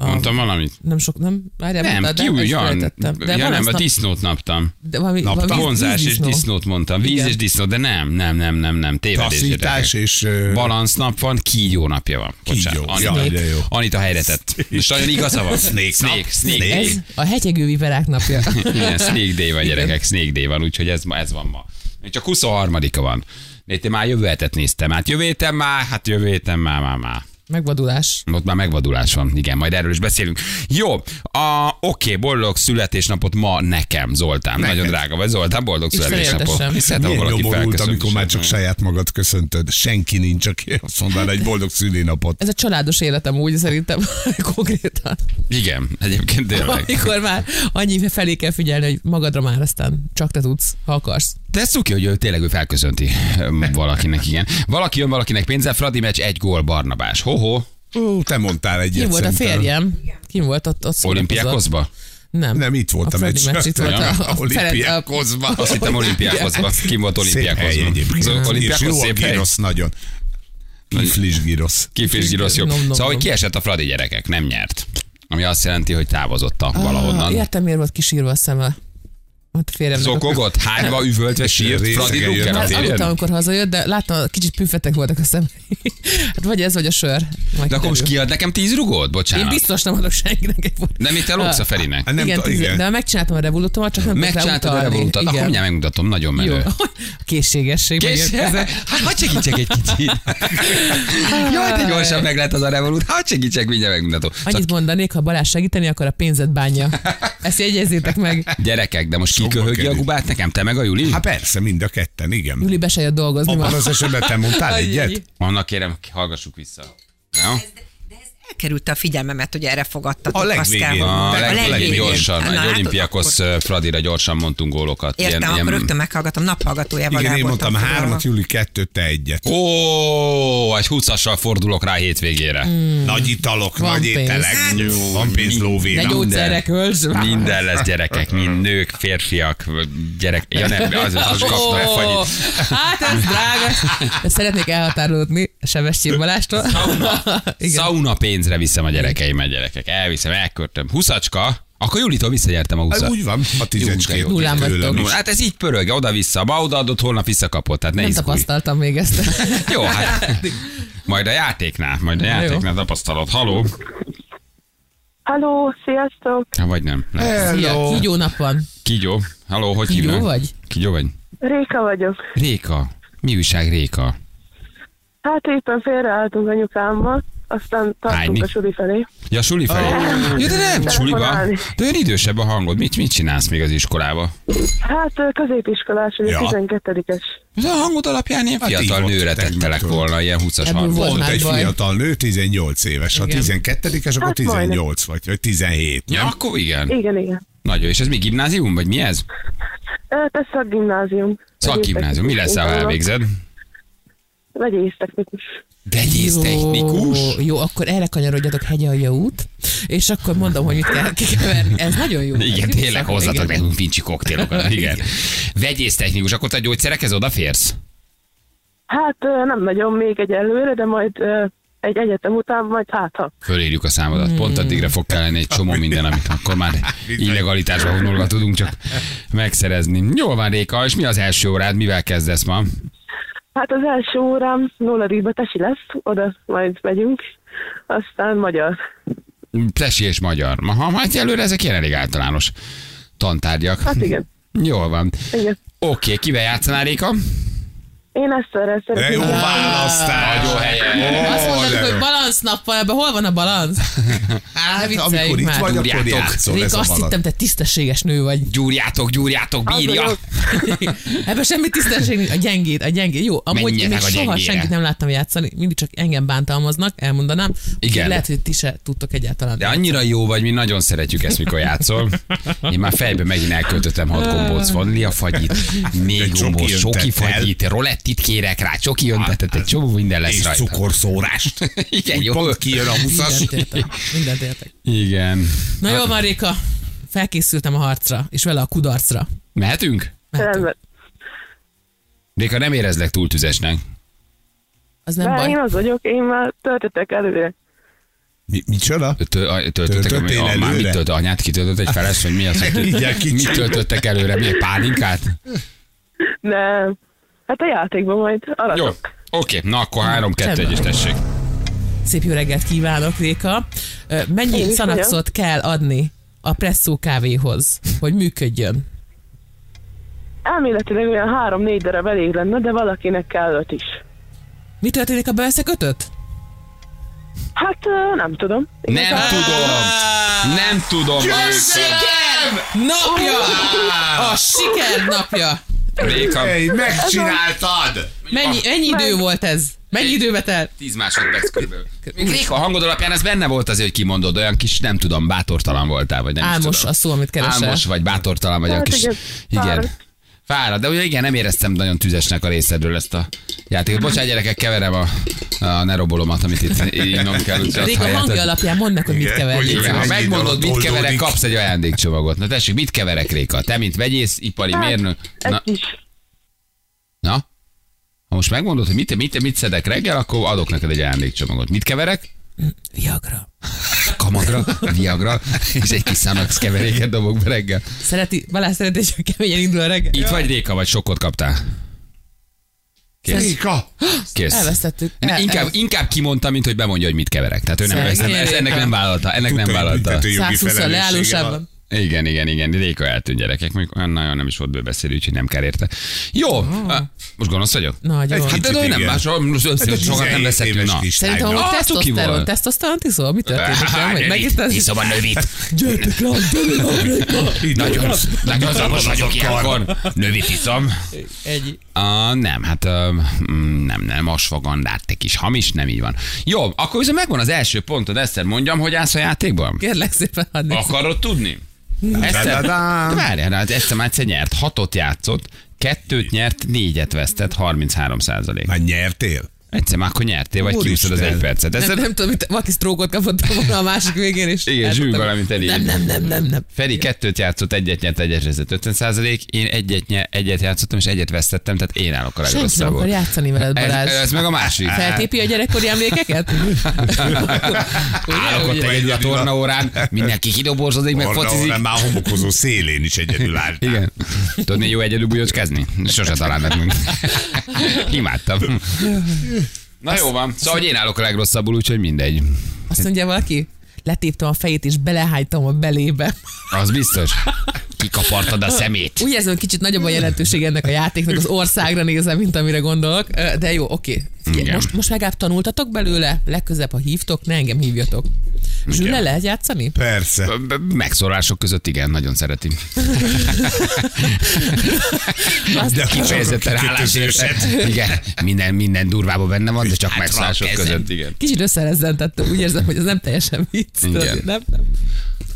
Speaker 3: a
Speaker 2: Mondtam valamit?
Speaker 3: Nem sok, nem? Várjál,
Speaker 2: Nem,
Speaker 3: mondtad,
Speaker 2: ki
Speaker 3: el is
Speaker 2: ugyan.
Speaker 3: felejtettem. De
Speaker 2: Ja
Speaker 3: van
Speaker 2: nem,
Speaker 3: az
Speaker 2: a
Speaker 3: nap-
Speaker 2: disznót naptam.
Speaker 3: de valami,
Speaker 4: Naptár.
Speaker 3: valami víz-
Speaker 2: Vonzás és
Speaker 3: vízdisznó.
Speaker 2: disznót mondtam. Víz
Speaker 3: Igen.
Speaker 2: és disznó, de nem, nem, nem, nem, nem. Tévedés.
Speaker 4: Taszítás
Speaker 2: gyerekek.
Speaker 4: és... ö,
Speaker 2: Balansz nap van, kígyó napja van. Bocsánat.
Speaker 4: Kígyó.
Speaker 2: Anita,
Speaker 4: Jaj, de jó.
Speaker 2: Anita helyre tett. És nagyon igaza van.
Speaker 4: Snake
Speaker 2: snake,
Speaker 4: nap.
Speaker 2: snake.
Speaker 4: Snake.
Speaker 3: Ez a hegyegő viperák napja.
Speaker 2: Igen, Snake Day van, gyerekek, Snake Day van, úgyhogy ez, ma- ez van ma. Még Csak 23-a van. Én te már jövő hetet néztem, hát jövő héten már, hát jövő héten már, már, már.
Speaker 3: Megvadulás.
Speaker 2: Ott már megvadulás van, igen, majd erről is beszélünk. Jó, a, oké, boldog születésnapot ma nekem, Zoltán. Neked. Nagyon drága vagy, Zoltán, boldog születésnapot.
Speaker 3: feléltessem.
Speaker 2: Hiszed, ha
Speaker 4: Milyen
Speaker 2: valaki
Speaker 4: nyomorult,
Speaker 2: felköszön.
Speaker 4: amikor már csak saját magad köszöntöd. Senki nincs, aki azt mondaná egy boldog szülinapot.
Speaker 3: Ez a családos életem úgy szerintem konkrétan.
Speaker 2: Igen, egyébként tényleg.
Speaker 3: Amikor már annyi felé kell figyelni, hogy magadra már aztán csak te tudsz, ha akarsz.
Speaker 2: De ez ki, hogy ő tényleg ő felköszönti öm, valakinek, igen. Valaki jön valakinek pénzzel, Fradi meccs, egy gól, Barnabás. Hoho,
Speaker 4: Ó, te mondtál egyet.
Speaker 3: Ki volt a
Speaker 4: szerintem.
Speaker 3: férjem? Ki volt ott? ott szórakozott?
Speaker 2: olimpiákozba?
Speaker 3: Nem.
Speaker 4: Nem, itt volt a,
Speaker 3: Fradi
Speaker 4: meccs.
Speaker 3: meccs. Itt volt
Speaker 2: Ja,
Speaker 3: a, a, Ferenc- a
Speaker 4: Olimpiákozban.
Speaker 2: Azt hittem olimpiákozba. Kim volt
Speaker 4: Szép hely
Speaker 2: olimpiákozba?
Speaker 4: egyébként.
Speaker 2: Az
Speaker 4: És
Speaker 2: olimpiákhoz
Speaker 4: jó a
Speaker 2: szép hely.
Speaker 4: girosz nagyon. Kiflis girosz.
Speaker 2: Kiflis girosz jobb.
Speaker 3: Nom, nom,
Speaker 2: Szóval, hogy
Speaker 3: nom.
Speaker 2: kiesett a Fradi gyerekek, nem nyert. Ami azt jelenti, hogy távozottak valahonnan.
Speaker 3: Ah, értem, miért volt kisírva a szeme. Ott félrem.
Speaker 2: Zokogott, hányba üvöltve sírt,
Speaker 4: Részegen
Speaker 2: Fradi
Speaker 4: jön
Speaker 2: Dukker
Speaker 4: a
Speaker 2: a
Speaker 3: Hát aludtam,
Speaker 2: térjen.
Speaker 3: amikor hazajött, de láttam, kicsit püfetek voltak a szemei. Hát vagy ez, vagy a sör. Majd
Speaker 2: De akkor most
Speaker 3: kiderül.
Speaker 2: kiad nekem tíz rugót?
Speaker 3: Én
Speaker 2: Bocsánat.
Speaker 3: biztos nem adok senkinek egy volt.
Speaker 2: Nem itt elogsz a Ferinek.
Speaker 4: Hát nem
Speaker 3: igen,
Speaker 4: tudom,
Speaker 3: tíz-
Speaker 4: igen.
Speaker 3: de megcsináltam a revolutomat, csak nem tudok
Speaker 2: Megcsináltad a
Speaker 3: rá utalni.
Speaker 2: revolutat, akkor
Speaker 3: Igen.
Speaker 2: mindjárt megmutatom, nagyon menő.
Speaker 3: Jó. Készségesség.
Speaker 2: Kész?
Speaker 3: megérkezett.
Speaker 2: Hát hadd segítsek egy kicsit. Jaj, de gyorsan meg lehet az a revolút. Hadd segítsek, mindjárt megmutatom. Szóval,
Speaker 3: Annyit mondanék, ha Balázs segíteni, akkor a pénzed bánja. Ezt jegyezzétek meg.
Speaker 2: gyerekek, de most ki
Speaker 4: Sokba
Speaker 2: köhögi a
Speaker 4: kerül.
Speaker 2: gubát nekem? Te meg a Juli?
Speaker 4: Hát persze, mind a ketten, igen.
Speaker 3: Juli be se jött dolgozni. ma.
Speaker 4: Abban az esetben te mondtál
Speaker 3: Ajj,
Speaker 4: egyet?
Speaker 3: ajj.
Speaker 2: Annak kérem, hallgassuk vissza. Jó?
Speaker 5: Elkerülte a figyelmemet, hogy erre fogadtatok.
Speaker 4: A
Speaker 5: azt
Speaker 4: legvégén.
Speaker 5: kell
Speaker 4: A
Speaker 5: mondanom.
Speaker 2: A legvégén
Speaker 4: legvégén. hát
Speaker 2: gyorsan,
Speaker 5: Na,
Speaker 2: egy
Speaker 5: látod,
Speaker 2: olimpiakos
Speaker 5: akkor-
Speaker 2: ö, Fradira gyorsan mondtunk gólokat.
Speaker 5: Értem, akkor rögtön meghallgatom, naphallgatójával.
Speaker 4: Igen, én
Speaker 5: el
Speaker 4: mondtam
Speaker 5: voltam
Speaker 4: hármat,
Speaker 5: foglalva.
Speaker 4: Júli kettőt, te egyet.
Speaker 2: Ó, egy 20 fordulok rá hétvégére.
Speaker 3: Mm.
Speaker 4: Nagy italok,
Speaker 3: Hmm. Van
Speaker 4: nagy
Speaker 3: pénz.
Speaker 4: ételek,
Speaker 5: Hát,
Speaker 4: Jó, van pénz
Speaker 3: De
Speaker 4: lóvéra.
Speaker 2: jó-
Speaker 3: gyógyszerre kölcs.
Speaker 2: Minden lesz gyerekek, mind nők, férfiak, gyerek. Ja nem, az, az kapnak fagyit.
Speaker 3: hát ez drága. De szeretnék elhatárolódni Sebestyén Balástól. Igen.
Speaker 2: Sauna pénzre viszem a gyerekeimet, gyerekek. Elviszem, elköltöm. Huszacska, akkor Julitól visszagyertem a
Speaker 4: Hát
Speaker 2: huszat.
Speaker 4: úgy van, a
Speaker 2: Jó,
Speaker 4: tizecskét
Speaker 2: de jó.
Speaker 3: Nullán
Speaker 4: tőlem
Speaker 3: vagytok.
Speaker 4: is.
Speaker 2: Hát ez így pörög, oda-vissza. Ma odaadott, holnap visszakapott. Tehát ne
Speaker 3: Nem
Speaker 2: izgulj.
Speaker 3: tapasztaltam még ezt.
Speaker 2: Jó, hát majd a játéknál, majd a
Speaker 3: Na jó.
Speaker 2: játéknál tapasztalod. Haló?
Speaker 6: Halló, sziasztok!
Speaker 2: Hát vagy nem. Lehet.
Speaker 3: Hello. Így jó nap van.
Speaker 2: Kigyó. Halló, hogy
Speaker 3: Kigyó
Speaker 2: hívnak?
Speaker 3: vagy?
Speaker 2: Kigyó vagy?
Speaker 6: Réka vagyok.
Speaker 2: Réka. Mi újság Réka?
Speaker 6: Hát éppen félreálltunk anyukámmal, aztán
Speaker 2: Hányni?
Speaker 6: tartunk a suli felé.
Speaker 2: Ja, suli felé. Oh. Ja, de nem, suliba.
Speaker 6: Telefonálni.
Speaker 2: De olyan idősebb a hangod. Mit, mit csinálsz még az iskolába?
Speaker 6: Hát ö, középiskolás, ugye
Speaker 4: Ja.
Speaker 6: ja. 12-es.
Speaker 2: De a hangod alapján én fiatal
Speaker 4: így volt,
Speaker 2: nőre tettelek
Speaker 4: tegnaptól.
Speaker 2: volna, ilyen 20-as
Speaker 3: Ebből
Speaker 2: harmad.
Speaker 3: volt.
Speaker 4: Pont
Speaker 3: Már
Speaker 4: egy
Speaker 3: baj.
Speaker 4: fiatal nő, 18 éves. Ha
Speaker 3: Igen.
Speaker 4: 12-es, akkor
Speaker 6: Hát
Speaker 4: 18 vagy, vagy 17.
Speaker 2: Ja, akkor igen.
Speaker 6: Igen, igen.
Speaker 2: Nagyon. És ez mi gimnázium, vagy mi ez?
Speaker 6: Ö, Te szakgimnázium.
Speaker 2: Szakgimnázium. Mi lesz, ha elvégzed?
Speaker 6: Vegyésztechnikus.
Speaker 2: Vegyésztechnikus?
Speaker 3: Jó, jó, akkor erre kanyarodjatok hegyalja út, és akkor mondom, hogy mit kell kikeverni. Ez nagyon jó.
Speaker 2: Igen,
Speaker 3: Ez
Speaker 2: tényleg
Speaker 3: jó.
Speaker 2: hozzatok
Speaker 3: Igen.
Speaker 2: nekünk fincsi koktélokat. Igen. Vegyész technikus, akkor te a gyógyszerekhez odaférsz?
Speaker 6: Hát ö, nem nagyon még egyelőre, de majd ö, egy egyetem után, majd hát ha.
Speaker 2: Fölírjuk a számodat. Pont addigra fog kelleni egy csomó minden, amit akkor már illegalitásba vonulva tudunk csak megszerezni. Jól van, Réka, és mi az első órád? Mivel kezdesz ma?
Speaker 6: Hát az első órám nulladikba tesi lesz, oda majd megyünk, aztán magyar.
Speaker 2: Tesi és magyar. Aha, hát előre ezek ilyen elég általános tantárgyak.
Speaker 6: Hát igen,
Speaker 2: Jól van.
Speaker 6: igen.
Speaker 2: Oké, kivel játszanál, Réka?
Speaker 6: Én ezt erre
Speaker 4: De jó
Speaker 6: szeretném.
Speaker 4: választás!
Speaker 2: Nagyon helyes.
Speaker 3: Azt
Speaker 4: Ó,
Speaker 3: mondod,
Speaker 4: de jó.
Speaker 3: hogy balansz nappal, ebben hol van a balansz? Á,
Speaker 4: Hát,
Speaker 3: vicceljük
Speaker 4: amikor itt
Speaker 3: már.
Speaker 4: vagy, akkor
Speaker 2: Tudjátok.
Speaker 4: játszol
Speaker 3: Réka,
Speaker 4: ez a
Speaker 3: azt
Speaker 4: balat.
Speaker 3: hittem, te tisztességes nő vagy.
Speaker 2: Gyúrjátok, gyúrjátok, bírja.
Speaker 3: Ebben semmi tisztesség nincs. A gyengéd, a gyengéd. Jó, amúgy én még
Speaker 2: Menjetek a
Speaker 3: soha
Speaker 2: gyengére.
Speaker 3: senkit nem láttam játszani, mindig csak engem bántalmaznak, elmondanám.
Speaker 2: Igen.
Speaker 3: Úgyhogy Lehet, hogy ti se tudtok egyáltalán.
Speaker 2: De annyira jó vagy, mi nagyon szeretjük ezt, mikor játszol. Én már fejbe megint elköltöttem hat gombóc, vanlia fagyit, még
Speaker 4: csoki
Speaker 2: gombóc,
Speaker 4: öntet
Speaker 2: soki
Speaker 4: el.
Speaker 2: fagyit, rolettit kérek rá, csoki öntetet, egy csomó minden lesz
Speaker 4: És
Speaker 2: rajta.
Speaker 4: cukorszórást.
Speaker 2: Igen,
Speaker 4: Úgy
Speaker 2: jó.
Speaker 4: Pont kijön a huszas.
Speaker 3: Mindent értek. Mindent értek.
Speaker 2: Igen.
Speaker 3: Na jó, Marika, felkészültem a harcra, és vele a kudarcra.
Speaker 2: Mehetünk?
Speaker 3: Mehetünk.
Speaker 6: Rendben.
Speaker 2: Réka, nem érezlek túl tüzesnek.
Speaker 3: Az nem
Speaker 6: De
Speaker 3: baj.
Speaker 6: én az vagyok, én már töltöttek előre.
Speaker 4: Mi- Micsoda?
Speaker 2: Tö- a- Töltöttek, ami,
Speaker 4: Töltöttél
Speaker 2: a, már mit
Speaker 4: előre?
Speaker 2: tölt, anyát kitöltött egy feles, vagy mi az? hogy-
Speaker 4: Igen, kicsi.
Speaker 2: Mit töltöttek előre? Mi egy pálinkát?
Speaker 6: Nem. Hát a játékban majd
Speaker 2: Jó.
Speaker 6: alatt.
Speaker 2: Oké, na akkor három, kettő,
Speaker 3: Semmi.
Speaker 2: egyes tessék.
Speaker 3: Szép jó reggelt kívánok, Réka. Ö,
Speaker 6: Én
Speaker 3: Mennyi
Speaker 6: is
Speaker 3: szanaxot kell adni a presszó kávéhoz, hogy működjön?
Speaker 6: Elméletileg olyan három-négy darab elég lenne, de valakinek kell öt is.
Speaker 3: Mi történik, ha beösszekötöt?
Speaker 6: Hát ö, nem tudom.
Speaker 2: Nem tudom. Nem tudom. Marika.
Speaker 3: Napja! A siker napja!
Speaker 2: Réka,
Speaker 4: Hey, megcsináltad!
Speaker 2: Ah,
Speaker 3: Mennyi, mennyi idő volt ez? Mennyi időbe telt?
Speaker 2: 10 másodperc körülbelül. Még Réka a hangod alapján ez benne volt azért, hogy kimondod, olyan kis, nem tudom, bátortalan voltál, vagy nem is
Speaker 3: Álmos
Speaker 2: tudom.
Speaker 3: a szó, amit keresel.
Speaker 2: Álmos vagy bátortalan vagy, olyan
Speaker 6: Hát
Speaker 2: kis...
Speaker 6: igen,
Speaker 2: Igen.
Speaker 6: fáradt.
Speaker 2: Fáradt, de ugye igen, nem éreztem nagyon tüzesnek a részedről ezt a játékot. Bocsánat, gyerekek, keverem a, a nerobolomat, amit itt innom kell. úgyhogy azt
Speaker 3: Réka
Speaker 2: halljátok.
Speaker 3: hangja alapján mondd meg, hogy mit
Speaker 4: Igen,
Speaker 3: keverjél.
Speaker 4: hogy
Speaker 2: Igen, ha
Speaker 4: Mennyi
Speaker 2: megmondod,
Speaker 4: idő
Speaker 2: mit
Speaker 4: alatt
Speaker 2: keverek,
Speaker 4: oldódik?
Speaker 2: kapsz egy ajándékcsomagot. Na tessék, mit keverek, Réka? Te, mint vegyész, ipari mérnök.
Speaker 6: Egy
Speaker 2: Na,
Speaker 6: kis.
Speaker 2: na? Ha most megmondod, hogy mit, mit, mit szedek reggel, akkor adok neked egy ajándékcsomagot. Mit keverek?
Speaker 3: Viagra.
Speaker 2: kamagra, viagra, és egy kis számax keveréket dobok be reggel.
Speaker 3: Szereti, Balázs szereti, hogy keményen indul a reggel.
Speaker 2: Itt vagy Réka, vagy sokkot kaptál? Kész.
Speaker 4: Réka!
Speaker 2: Kész.
Speaker 3: Elvesztettük.
Speaker 2: Ne,
Speaker 3: El-
Speaker 2: inkább,
Speaker 3: el-
Speaker 2: inkább kimondta, mint hogy bemondja, hogy mit keverek. Tehát ő nem, ezt, nem, ezt ennek nem vállalta. Ennek nem vállalta.
Speaker 3: 120 a leállósában.
Speaker 2: Igen, igen, igen. Réka eltűnt gyerekek. Mondjuk olyan nagyon nem is volt bőbeszélő, úgyhogy nem kell érte. Jó. Ah, Most gonosz vagyok?
Speaker 3: Nagyon.
Speaker 4: Egy
Speaker 2: Hát de, de
Speaker 4: Kicsit
Speaker 2: nem
Speaker 4: igen.
Speaker 2: más, most
Speaker 4: Hát de
Speaker 2: sokat nem
Speaker 4: 17
Speaker 2: veszettünk.
Speaker 4: éves
Speaker 2: Na.
Speaker 4: kis
Speaker 3: Szerintem
Speaker 4: lány.
Speaker 3: valami
Speaker 2: Ah, cuki
Speaker 3: tesztoszteron.
Speaker 2: volt.
Speaker 3: Tesztoszteron tiszol? Mi történik?
Speaker 2: Hát,
Speaker 3: Nem, hogy megint az...
Speaker 2: Iszom a növit.
Speaker 3: Gyertek le,
Speaker 2: Nagyon, nagyon zavos vagyok ilyenkor. Növit iszom.
Speaker 3: Egy.
Speaker 2: Uh, nem, hát uh, nem, nem, asvagandát, te kis hamis, nem így van. Jó, akkor viszont megvan az első pontod, Eszter, mondjam, hogy állsz a játékban?
Speaker 3: Kérlek szépen, hadd nézzük.
Speaker 2: Akarod tudni? Eszter,
Speaker 4: Da-da-da.
Speaker 2: várjál, hát Eszter már egyszer nyert, hatot játszott, kettőt nyert, négyet vesztett, 33 százalék.
Speaker 4: Már nyertél?
Speaker 2: Egyszer már akkor nyertél, vagy
Speaker 4: Úristen.
Speaker 2: kiúszod az egy percet.
Speaker 3: Nem,
Speaker 2: Ezzel
Speaker 3: nem tudom, mit, valaki sztrókot kapott volna a másik végén, és...
Speaker 2: Igen,
Speaker 3: eltudtam.
Speaker 2: zsűr valamit elég.
Speaker 3: Nem, nem, nem, nem, nem.
Speaker 2: Feri kettőt játszott, egyet nyert, egyet vesztett 50 százalék, én egyet, nye, egyet játszottam, és egyet vesztettem, tehát én állok a
Speaker 3: Senki nem akar
Speaker 2: legrosszabbul.
Speaker 3: játszani veled,
Speaker 2: Ez,
Speaker 3: Balázs.
Speaker 2: ez, meg a másik.
Speaker 3: Feltépi a gyerekkori emlékeket?
Speaker 2: Állok ott
Speaker 3: Ugye?
Speaker 2: egyedül a tornaórán, mindenki kidoborzodik, meg
Speaker 4: Arra,
Speaker 2: focizik.
Speaker 4: arra már homokozó szélén is egyedül álltál.
Speaker 2: Igen. Tudod, milyen jó egyedül bujocskázni? Sose találnak meg. Imádtam. Na jó van. Szóval, hogy én állok a legrosszabbul, úgyhogy mindegy.
Speaker 3: Azt mondja valaki, letéptem a fejét, és belehájtam a belébe.
Speaker 2: Az biztos. Kikapartad a szemét.
Speaker 3: Úgy érzem, hogy kicsit nagyobb a jelentőség ennek a játéknak, az országra nézem, mint amire gondolok. Ö, De jó, oké. Figyelj,
Speaker 2: Igen.
Speaker 3: Most, most legalább tanultatok belőle, legközebb, ha hívtok, ne engem hívjatok. Zsül, le lehet játszani?
Speaker 4: Persze.
Speaker 2: B- b- Megszólások között igen, nagyon szereti.
Speaker 4: De
Speaker 2: Kifejezetten állásérte. Igen, minden, minden durvában benne van, de csak
Speaker 4: Hát,
Speaker 2: megszólások
Speaker 4: rakkezem.
Speaker 2: között, igen.
Speaker 3: Kicsit összerezzentettem, úgy érzem, hogy ez nem teljesen vicc. tudod,
Speaker 2: Igen.
Speaker 3: Nem, nem.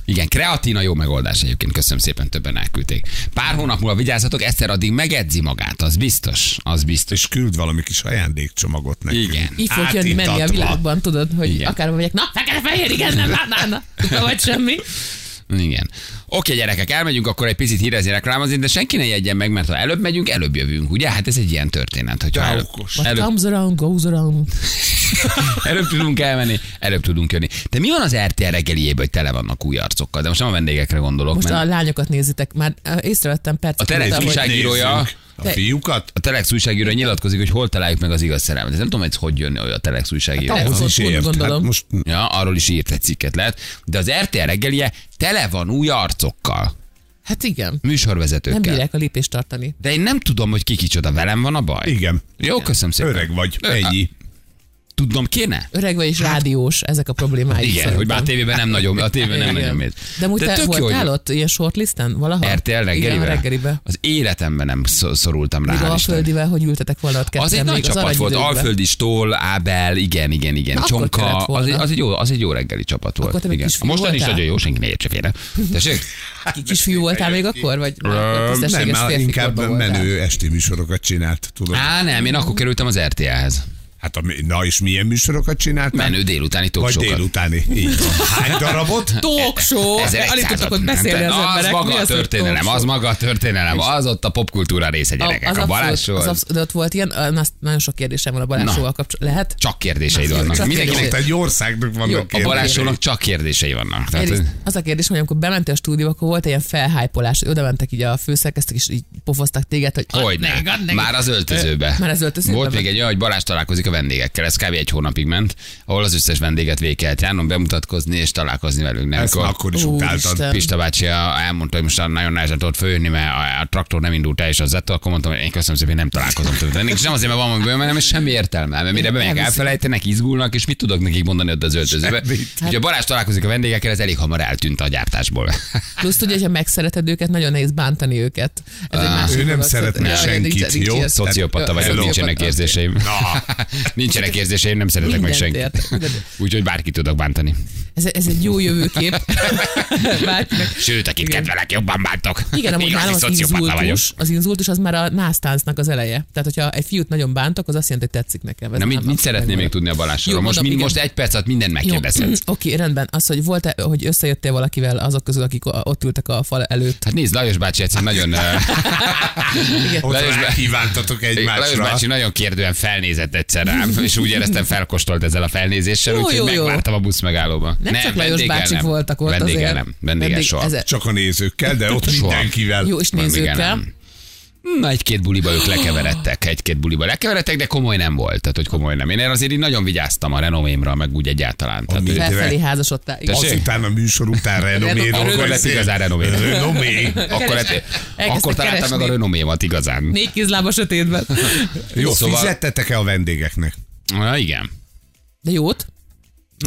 Speaker 2: Igen, kreatina jó megoldás egyébként, köszönöm szépen, többen elküldték. Pár hónap múlva vigyázzatok, Eszter addig megedzi magát, az biztos, az biztos.
Speaker 4: És küld valami kis ajándékcsomagot nekünk.
Speaker 2: Igen.
Speaker 3: Így fog jönni menni a
Speaker 4: Átítatva.
Speaker 3: világban, tudod, hogy
Speaker 2: Igen.
Speaker 3: akár megyek, na, fekete fehér, igen, nem látnána, vagy semmi.
Speaker 2: Igen. Oké, gyerekek, elmegyünk akkor egy picit hírezni, reklámozni, de senki ne jegyen meg, mert ha előbb megyünk, előbb jövünk, ugye? Hát ez egy ilyen történet, hogy előbb,
Speaker 4: okos.
Speaker 3: What
Speaker 2: előbb,
Speaker 3: comes around, goes around.
Speaker 2: előbb, tudunk elmenni, előbb tudunk jönni. De mi van az RTL reggeliében, hogy tele vannak új arcokkal? De most nem a vendégekre gondolok,
Speaker 3: Most a
Speaker 2: mert
Speaker 3: lányokat nézitek, már ö, észrevettem
Speaker 2: A
Speaker 3: percet.
Speaker 2: tele-
Speaker 3: alatt, ahogy-
Speaker 2: újság- újságírója.
Speaker 4: Nézzünk. A fiúkat?
Speaker 2: a Telex újságíró nyilatkozik, hogy hol találjuk meg az igaz szerelmet. Ez nem tudom, hogy ez hogy jön hogy a Telex újságíró.
Speaker 3: ahhoz,
Speaker 4: Az is
Speaker 3: Ott
Speaker 4: ért. Hát
Speaker 3: gondolom.
Speaker 4: most
Speaker 2: Ja, arról is írt egy cikket lehet. De az RTL reggelie tele van új arcokkal,
Speaker 3: Hát igen, nem
Speaker 2: műsorvezetőkkel.
Speaker 3: bírják a lépést tartani.
Speaker 2: De én nem tudom, hogy ki kicsoda, velem van a baj.
Speaker 4: igen.
Speaker 2: Jó, köszönöm szépen.
Speaker 4: Öreg vagy.
Speaker 2: Ö,
Speaker 4: Ennyi.
Speaker 2: Tudnom kéne?
Speaker 3: Öreg vagy és rádiós, ezek a problémái.
Speaker 2: Hát- Igen, hogy bár a tévében nem nagyon, a tévében nem nagyon mész.
Speaker 3: De amúgy te
Speaker 2: tök jó,
Speaker 3: voltál
Speaker 2: hogy
Speaker 3: ott ilyen shortlisten valaha?
Speaker 2: RTL reggelibe?
Speaker 3: Igen, a reggelibe.
Speaker 2: Az életemben nem szor- szorultam rá. hál'
Speaker 3: Még
Speaker 2: Istennek.
Speaker 3: Alföldivel, hogy ültetek volna ott ketten
Speaker 2: Az egy
Speaker 3: még
Speaker 2: nagy csapat volt,
Speaker 3: aranyidőkben.
Speaker 2: Alföldi Stól, Ábel, igen, igen, igen,
Speaker 3: Na,
Speaker 2: Na,
Speaker 3: akkor
Speaker 2: Csonka,
Speaker 3: kellett volna.
Speaker 2: az egy, az, egy jó, az egy jó reggeli csapat volt.
Speaker 3: Akkor te még
Speaker 2: igen.
Speaker 3: kis
Speaker 2: A mostani is
Speaker 3: voltál?
Speaker 2: nagyon jó, senki ne értse félre. Tessék?
Speaker 3: Ki- Kisfiú voltál még akkor? Vagy
Speaker 4: Nem,
Speaker 3: tisztességes
Speaker 4: már
Speaker 3: férfi
Speaker 4: inkább
Speaker 3: korban voltál?
Speaker 4: menő esti műsorokat csinált, tudod.
Speaker 2: Á, nem, én akkor kerültem az RTL-hez.
Speaker 4: Hát a, na és milyen műsorokat csinált?
Speaker 2: Menő délutáni
Speaker 4: Vagy
Speaker 2: toksokat.
Speaker 4: délutáni. Így van. Hány darabot?
Speaker 3: Talk show! Alig tudtak ott beszélni az
Speaker 2: Az
Speaker 3: emberek. Mi
Speaker 2: maga a
Speaker 3: hogy
Speaker 2: történelem,
Speaker 3: talk
Speaker 2: az
Speaker 3: show?
Speaker 2: maga a történelem, az ott a popkultúra része gyerekek, a, a
Speaker 3: abszolút-
Speaker 2: Balázs show,
Speaker 3: az
Speaker 2: az
Speaker 3: abszolút- De ott volt ilyen, ö, na, nagyon sok kérdésem van a Balázs
Speaker 2: Na.
Speaker 3: show-val kapcsolatban. Lehet?
Speaker 2: Csak kérdéseid
Speaker 3: Na,
Speaker 2: vannak.
Speaker 3: csak
Speaker 2: Mindenkinek
Speaker 4: Ott
Speaker 3: kérdések.
Speaker 4: egy országnak vannak
Speaker 3: Jó, a
Speaker 2: a
Speaker 4: kérdései.
Speaker 2: Balázs show-nak csak kérdései vannak. Tehát,
Speaker 3: Én is- az a kérdés, hogy amikor bementél a stúdióba, akkor volt egy ilyen felhájpolás, oda mentek így a főszerkesztők, és így pofoztak téged, hogy add
Speaker 2: hogy ne?
Speaker 3: meg, add meg.
Speaker 2: Már az öltözőbe.
Speaker 3: Már az öltözőbe
Speaker 2: Volt
Speaker 3: van.
Speaker 2: még egy olyan, hogy Balázs találkozik a vendégekkel, ez kb. egy hónapig ment, ahol az összes vendéget végig kellett járnom, bemutatkozni és találkozni velük. Nem,
Speaker 4: Ezt
Speaker 2: Akkor
Speaker 4: akkor is
Speaker 3: Úristen.
Speaker 4: utáltad.
Speaker 2: Pista bácsi a- elmondta, hogy most nagyon nehezen tudott följönni, mert a, a traktor nem indult el, és az ettől, akkor mondtam, hogy én köszönöm szépen, nem találkozom többet. Ennek is nem azért, mert van valami bőven, hanem és semmi értelme. Mert mire bemegyek,
Speaker 3: Elviszik.
Speaker 2: elfelejtenek, izgulnak, és mit tudok nekik mondani ott az öltözőbe.
Speaker 4: Semmit.
Speaker 2: Ugye
Speaker 3: Hát-
Speaker 2: Balázs találkozik a vendégekkel, ez elég hamar eltűnt a gyártásból.
Speaker 3: Plusz tudja, hogyha megszereted őket, nagyon nehéz bántani őket. Ez egy másik
Speaker 4: Ő nem
Speaker 3: dolog,
Speaker 4: szeretne
Speaker 3: szerintem. Ja,
Speaker 4: senkit,
Speaker 3: nincs- nincs
Speaker 4: jó?
Speaker 3: ilyen-
Speaker 2: Szociopata vagyok,
Speaker 3: Hello.
Speaker 2: nincsenek
Speaker 3: Szociopata,
Speaker 2: érzéseim. nincsenek érzéseim, nem szeretek meg
Speaker 3: Mindent
Speaker 2: senkit.
Speaker 3: értek, mindent.
Speaker 2: Úgyhogy bárkit tudok bántani.
Speaker 3: Ez, ez egy jó jövőkép. Bárkinek.
Speaker 2: Sőt, akit
Speaker 3: Igen.
Speaker 2: kedvelek, jobban bántok.
Speaker 3: Igen, amúgy
Speaker 2: Igazi
Speaker 3: nálam az
Speaker 2: szociopata vagyok.
Speaker 3: inzultus, az inzultus az már a násztáncnak az eleje. Tehát, hogyha egy fiút nagyon bántok, az azt jelenti, hogy tetszik nekem. Ez
Speaker 2: Na, mit,
Speaker 3: nálam
Speaker 2: mit
Speaker 3: abszolút
Speaker 2: szeretném még
Speaker 3: megvan.
Speaker 2: tudni a
Speaker 3: Jó,
Speaker 2: Balázsról? Most,
Speaker 3: mondom,
Speaker 2: mind,
Speaker 3: igen.
Speaker 2: most egy perc alatt mindent
Speaker 3: Jó.
Speaker 2: megkérdezhetsz.
Speaker 3: Oké, rendben. Az, hogy volt hogy összejöttél valakivel azok közül, akik ott ültek a fal előtt.
Speaker 2: Hát nézd, Lajos bácsi egyszer nagyon... ö,
Speaker 3: Igen.
Speaker 4: Ott
Speaker 2: Lajos bá-
Speaker 4: rákívántatok
Speaker 2: Lajos
Speaker 4: egymásra.
Speaker 2: bácsi nagyon kérdően felnézett egyszer rám, és úgy éreztem felkostolt ezzel a felnézéssel,
Speaker 3: Jó, jó,
Speaker 2: úgyhogy
Speaker 3: jó.
Speaker 2: megvártam a busz megállóban.
Speaker 3: Nem csak Lajos
Speaker 2: vendéggel
Speaker 3: bácsik
Speaker 2: nem.
Speaker 3: voltak ott
Speaker 2: vendéggel
Speaker 3: azért.
Speaker 2: nem, vendéggel
Speaker 3: Vendég-
Speaker 2: soha.
Speaker 3: ezek-
Speaker 4: Csak a nézőkkel, de ott
Speaker 2: Soha.
Speaker 4: mindenkivel.
Speaker 3: Jó, és
Speaker 2: Vendéggel
Speaker 3: nézőkkel.
Speaker 2: nem. Na, egy-két buliba ők lekeveredtek, egy-két buliba lekeveredtek, de komoly nem volt, tehát hogy komoly nem. Én erre azért így nagyon vigyáztam a renomémra, meg úgy egyáltalán. Tehát,
Speaker 4: Ami-
Speaker 2: hogy-
Speaker 3: Felfelé házasodtál. Igen.
Speaker 2: Tessék?
Speaker 4: Azután a műsor után renoméról.
Speaker 3: Akkor
Speaker 2: lett igazán renomé.
Speaker 4: Renomé.
Speaker 2: akkor, lett,
Speaker 3: elkezdtek
Speaker 2: akkor találtam
Speaker 3: keresni.
Speaker 2: meg a renomémat igazán.
Speaker 3: Négy kézláb a sötétben.
Speaker 4: Jó,
Speaker 2: Szóval-
Speaker 4: fizettetek-e a vendégeknek?
Speaker 2: Na, igen.
Speaker 3: De jót?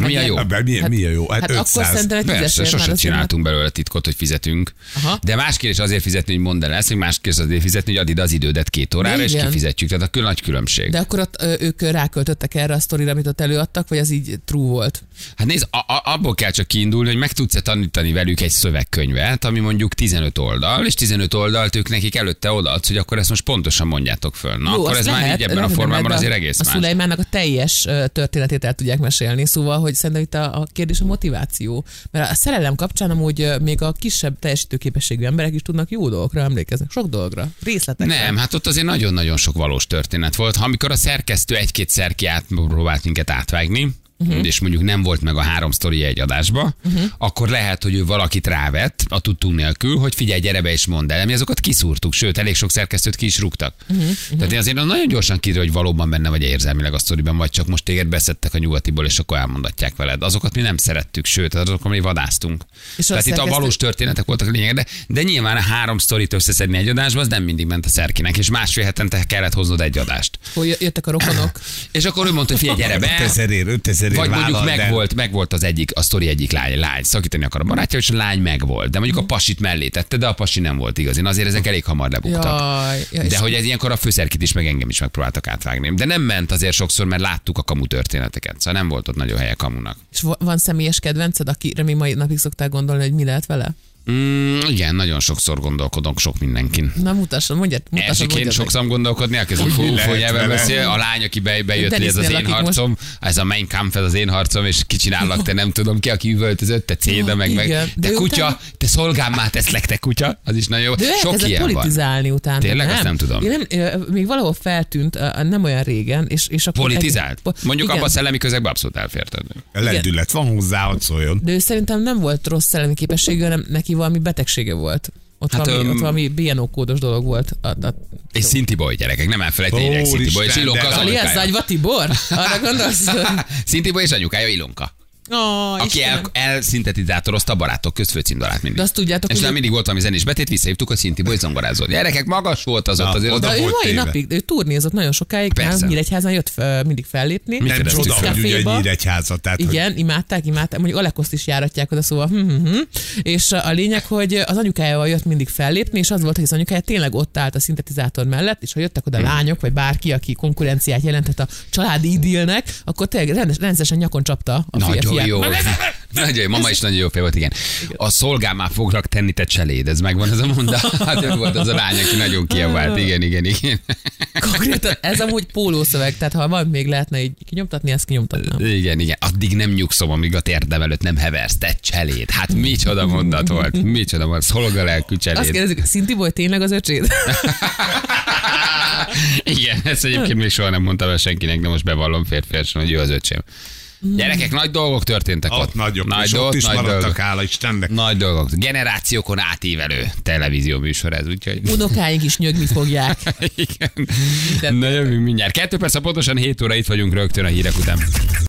Speaker 2: Mi a jó?
Speaker 4: Hát, mi, mi a jó? Hát,
Speaker 3: Hát akkor
Speaker 4: 500.
Speaker 3: szerintem egy
Speaker 2: Persze,
Speaker 3: tízesért már
Speaker 2: sose
Speaker 3: azért
Speaker 2: csináltunk belőle titkot, hogy fizetünk.
Speaker 3: Aha.
Speaker 2: De más kérdés azért fizetni, hogy mondd el ezt, meg más kérdés azért fizetni, hogy add ide az idődet két órára, és
Speaker 3: Igen.
Speaker 2: kifizetjük. Tehát a kül- nagy különbség.
Speaker 3: De akkor ott, ö, ők ráköltöttek erre a sztorira, amit ott előadtak, vagy az így true volt?
Speaker 2: Hát nézd, a- a- abból kell csak kiindulni, hogy meg tudsz-e tanítani velük egy szövegkönyvet, ami mondjuk 15 oldal, és 15 oldalt ők nekik előtte odaadsz, hogy akkor ezt most pontosan mondjátok föl. Na, akkor
Speaker 3: azt
Speaker 2: ez már így ebben a
Speaker 3: lehet,
Speaker 2: formában
Speaker 3: de
Speaker 2: azért
Speaker 3: a-
Speaker 2: egész
Speaker 3: A
Speaker 2: más.
Speaker 3: Szulejmának a teljes ö, történetét el tudják mesélni, szóval, hogy szerintem itt a, a kérdés a motiváció. Mert a szerelem kapcsán amúgy ö, még a kisebb teljesítőképességű emberek is tudnak jó dolgokra emlékezni, sok dolgokra, részletekre.
Speaker 2: Nem, hát ott azért nagyon-nagyon sok valós történet volt. Ha Amikor a szerkesztő egy-két szerki átpróbált minket átvágni, Uh-huh. és mondjuk nem volt meg a három sztoria egy adásba, uh-huh. akkor lehet, hogy ő valakit rávett a tudtunk nélkül, hogy figyelj, gyere be és mondd el. Mi azokat kiszúrtuk, sőt, elég sok szerkesztőt ki is rúgtak. Uh-huh. Tehát én azért nagyon gyorsan kiderül, hogy valóban benne vagy érzelmileg a sztoriban, vagy csak most téged beszedtek a nyugatiból, és akkor elmondatják veled. Azokat mi nem szerettük, sőt, azokat mi vadáztunk.
Speaker 3: És
Speaker 2: És
Speaker 3: a
Speaker 2: Tehát itt a
Speaker 3: szerkesztő-
Speaker 2: valós valós történetek voltak a lényeg, de, de nyilván a három sztorit összeszedni egy adásba, az nem mindig ment a szerkinek, és másfél hetente kellett hoznod egy adást.
Speaker 3: Hogy jö- jöttek a rokonok.
Speaker 2: És akkor ő mondta, hogy figyelj, gyere be,
Speaker 4: 5000 ér, 5000 ér
Speaker 2: vagy mondjuk
Speaker 4: vállald el.
Speaker 2: megvolt, megvolt az egyik, a sztori egyik lány, lány szakítani akar a barátja, és a lány megvolt. De mondjuk a pasit mellé tette, de a pasi nem volt igaz. Én azért ezek elég hamar lebuktak.
Speaker 3: Jaj, ja, és-
Speaker 2: de hogy ez ilyenkor a főszerkit is, meg engem is megpróbáltak átvágni. De nem ment azért sokszor, mert láttuk a kamu történeteket. Szóval nem volt ott nagyon helye kamunak.
Speaker 3: És va- van személyes kedvenced, akire mi mai napig szoktál gondolni, hogy mi lehet vele?
Speaker 2: Mm, igen, nagyon sokszor gondolkodok sok mindenkin.
Speaker 3: Na mutasson, mondjad, mutasson,
Speaker 2: Elsőként
Speaker 3: mondjad. meg.
Speaker 2: sokszor gondolkodni, elkezdem
Speaker 4: Hogy mi
Speaker 2: fú,
Speaker 4: lehet
Speaker 2: hogy ebben
Speaker 4: vele?
Speaker 2: beszél, a lány, aki be, bejött, hogy ez az
Speaker 3: Denisnél
Speaker 2: én
Speaker 3: lakik
Speaker 2: harcom, ez a Mein Kampf, ez az én harcom, és kicsinállak, te nem tudom ki, aki üvöltözött, te céda, meg, meg
Speaker 3: Igen, de
Speaker 2: te
Speaker 3: ő
Speaker 2: kutya,
Speaker 3: utána-
Speaker 2: te szolgám már teszlek, te kutya, az is nagyon jó.
Speaker 3: De ő
Speaker 2: Sok
Speaker 3: elkezdett
Speaker 2: ilyen van.
Speaker 3: politizálni utána.
Speaker 2: Tényleg? Azt nem tudom.
Speaker 3: Én nem, ö, még valahol feltűnt, ö, nem olyan régen, és, és akkor...
Speaker 2: Politizált?
Speaker 3: egy- po-
Speaker 2: Mondjuk
Speaker 3: igen.
Speaker 2: abban a szellemi közegben abszolút elférted.
Speaker 4: Lendület van hozzá, hogy szóljon.
Speaker 3: De ő szerintem nem volt rossz szellemi képességű, hanem neki valami betegsége volt. Ott,
Speaker 2: Hát,
Speaker 3: hát, valami,
Speaker 2: öm,
Speaker 3: ott valami BNO kódos dolog volt. A, a,
Speaker 2: És Szinti Boy gyerekek, nem elfelejteni, hogy
Speaker 4: Ó,
Speaker 2: Szinti Boy, és
Speaker 4: Isten,
Speaker 2: Ilonka
Speaker 4: de
Speaker 2: az
Speaker 4: nagy.
Speaker 3: Alias
Speaker 2: anyukája.
Speaker 3: Zagyva Tibor? Arra gondolsz? hogy-
Speaker 2: Szinti Boy és anyukája Ilonka.
Speaker 3: Ó,
Speaker 2: Aki
Speaker 3: Istenem.
Speaker 2: el, elszintetizátorozta a barátok közt főcímdalát mindig.
Speaker 3: De azt tudjátok,
Speaker 2: És
Speaker 3: hogy-
Speaker 2: nem mindig volt valami zenés betét, visszahívtuk, hogy Szinti Boy zongorázott. Gyerekek, magas volt az ott
Speaker 4: Na,
Speaker 2: azért.
Speaker 4: oda
Speaker 2: ott-
Speaker 3: De ő
Speaker 4: volt
Speaker 3: mai
Speaker 4: téve.
Speaker 3: napig, ő turnézott nagyon sokáig,
Speaker 2: Persze.
Speaker 3: nem, Nyíregyházán jött ö, mindig fellépni.
Speaker 2: Mit
Speaker 4: Nem
Speaker 2: kérdeztük
Speaker 4: csoda,
Speaker 2: föl?
Speaker 4: hogy ugye egy
Speaker 3: Caféba.
Speaker 4: nyíregyháza. Tehát, hogy
Speaker 3: Igen, imádták, imádták, mondjuk Alekoszt is járatják oda, szóval hm, hm, hm. És a lényeg, hogy az anyukájával jött mindig fellépni, és az volt, hogy az anyukája tényleg ott állt a szintetizátor mellett, és ha jöttek
Speaker 2: Hm.
Speaker 3: oda lányok, vagy bárki, aki konkurenciát jelentett a családi idilnek, akkor tényleg rendes- rendszeresen nyakon csapta a fi-
Speaker 2: Nagyon
Speaker 3: fiát.
Speaker 2: jó. Nagyon jó. Mama is nagyon jó fej volt, igen. A szolgám már foglak tenni, te cseléd. Ez megvan az a mondat. Hát ő volt az a lány, aki nagyon kiabált. Igen, igen, igen.
Speaker 3: Konkrétan ez amúgy pólószöveg, tehát ha van, még lehetne így kinyomtatni, ezt kinyomtatnám.
Speaker 2: Igen, igen. Addig nem nyugszom, amíg a térdem előtt nem heversz, te cseléd. Hát micsoda mondat volt. Micsoda volt. Szolgalelkű
Speaker 3: Azt
Speaker 2: cseléd.
Speaker 3: kérdezik, Szinti volt tényleg az öcséd?
Speaker 2: Igen, ezt egyébként még soha nem mondtam el senkinek, de most bevallom férfiasan, hogy ő az öcsém. Gyerekek, nagy dolgok történtek ott.
Speaker 4: Ott nagyok,
Speaker 2: nagy
Speaker 4: és
Speaker 2: dolgok,
Speaker 4: ott is
Speaker 2: nagy
Speaker 4: maradtak,
Speaker 2: dolgok.
Speaker 4: hála Istennek.
Speaker 2: Nagy dolgok. Generációkon átívelő televízió műsor ez, úgyhogy...
Speaker 3: Unokáink is nyögni fogják.
Speaker 2: Igen. Na jövünk mindjárt. Kettő perc, pontosan 7 óra itt vagyunk rögtön a hírek után.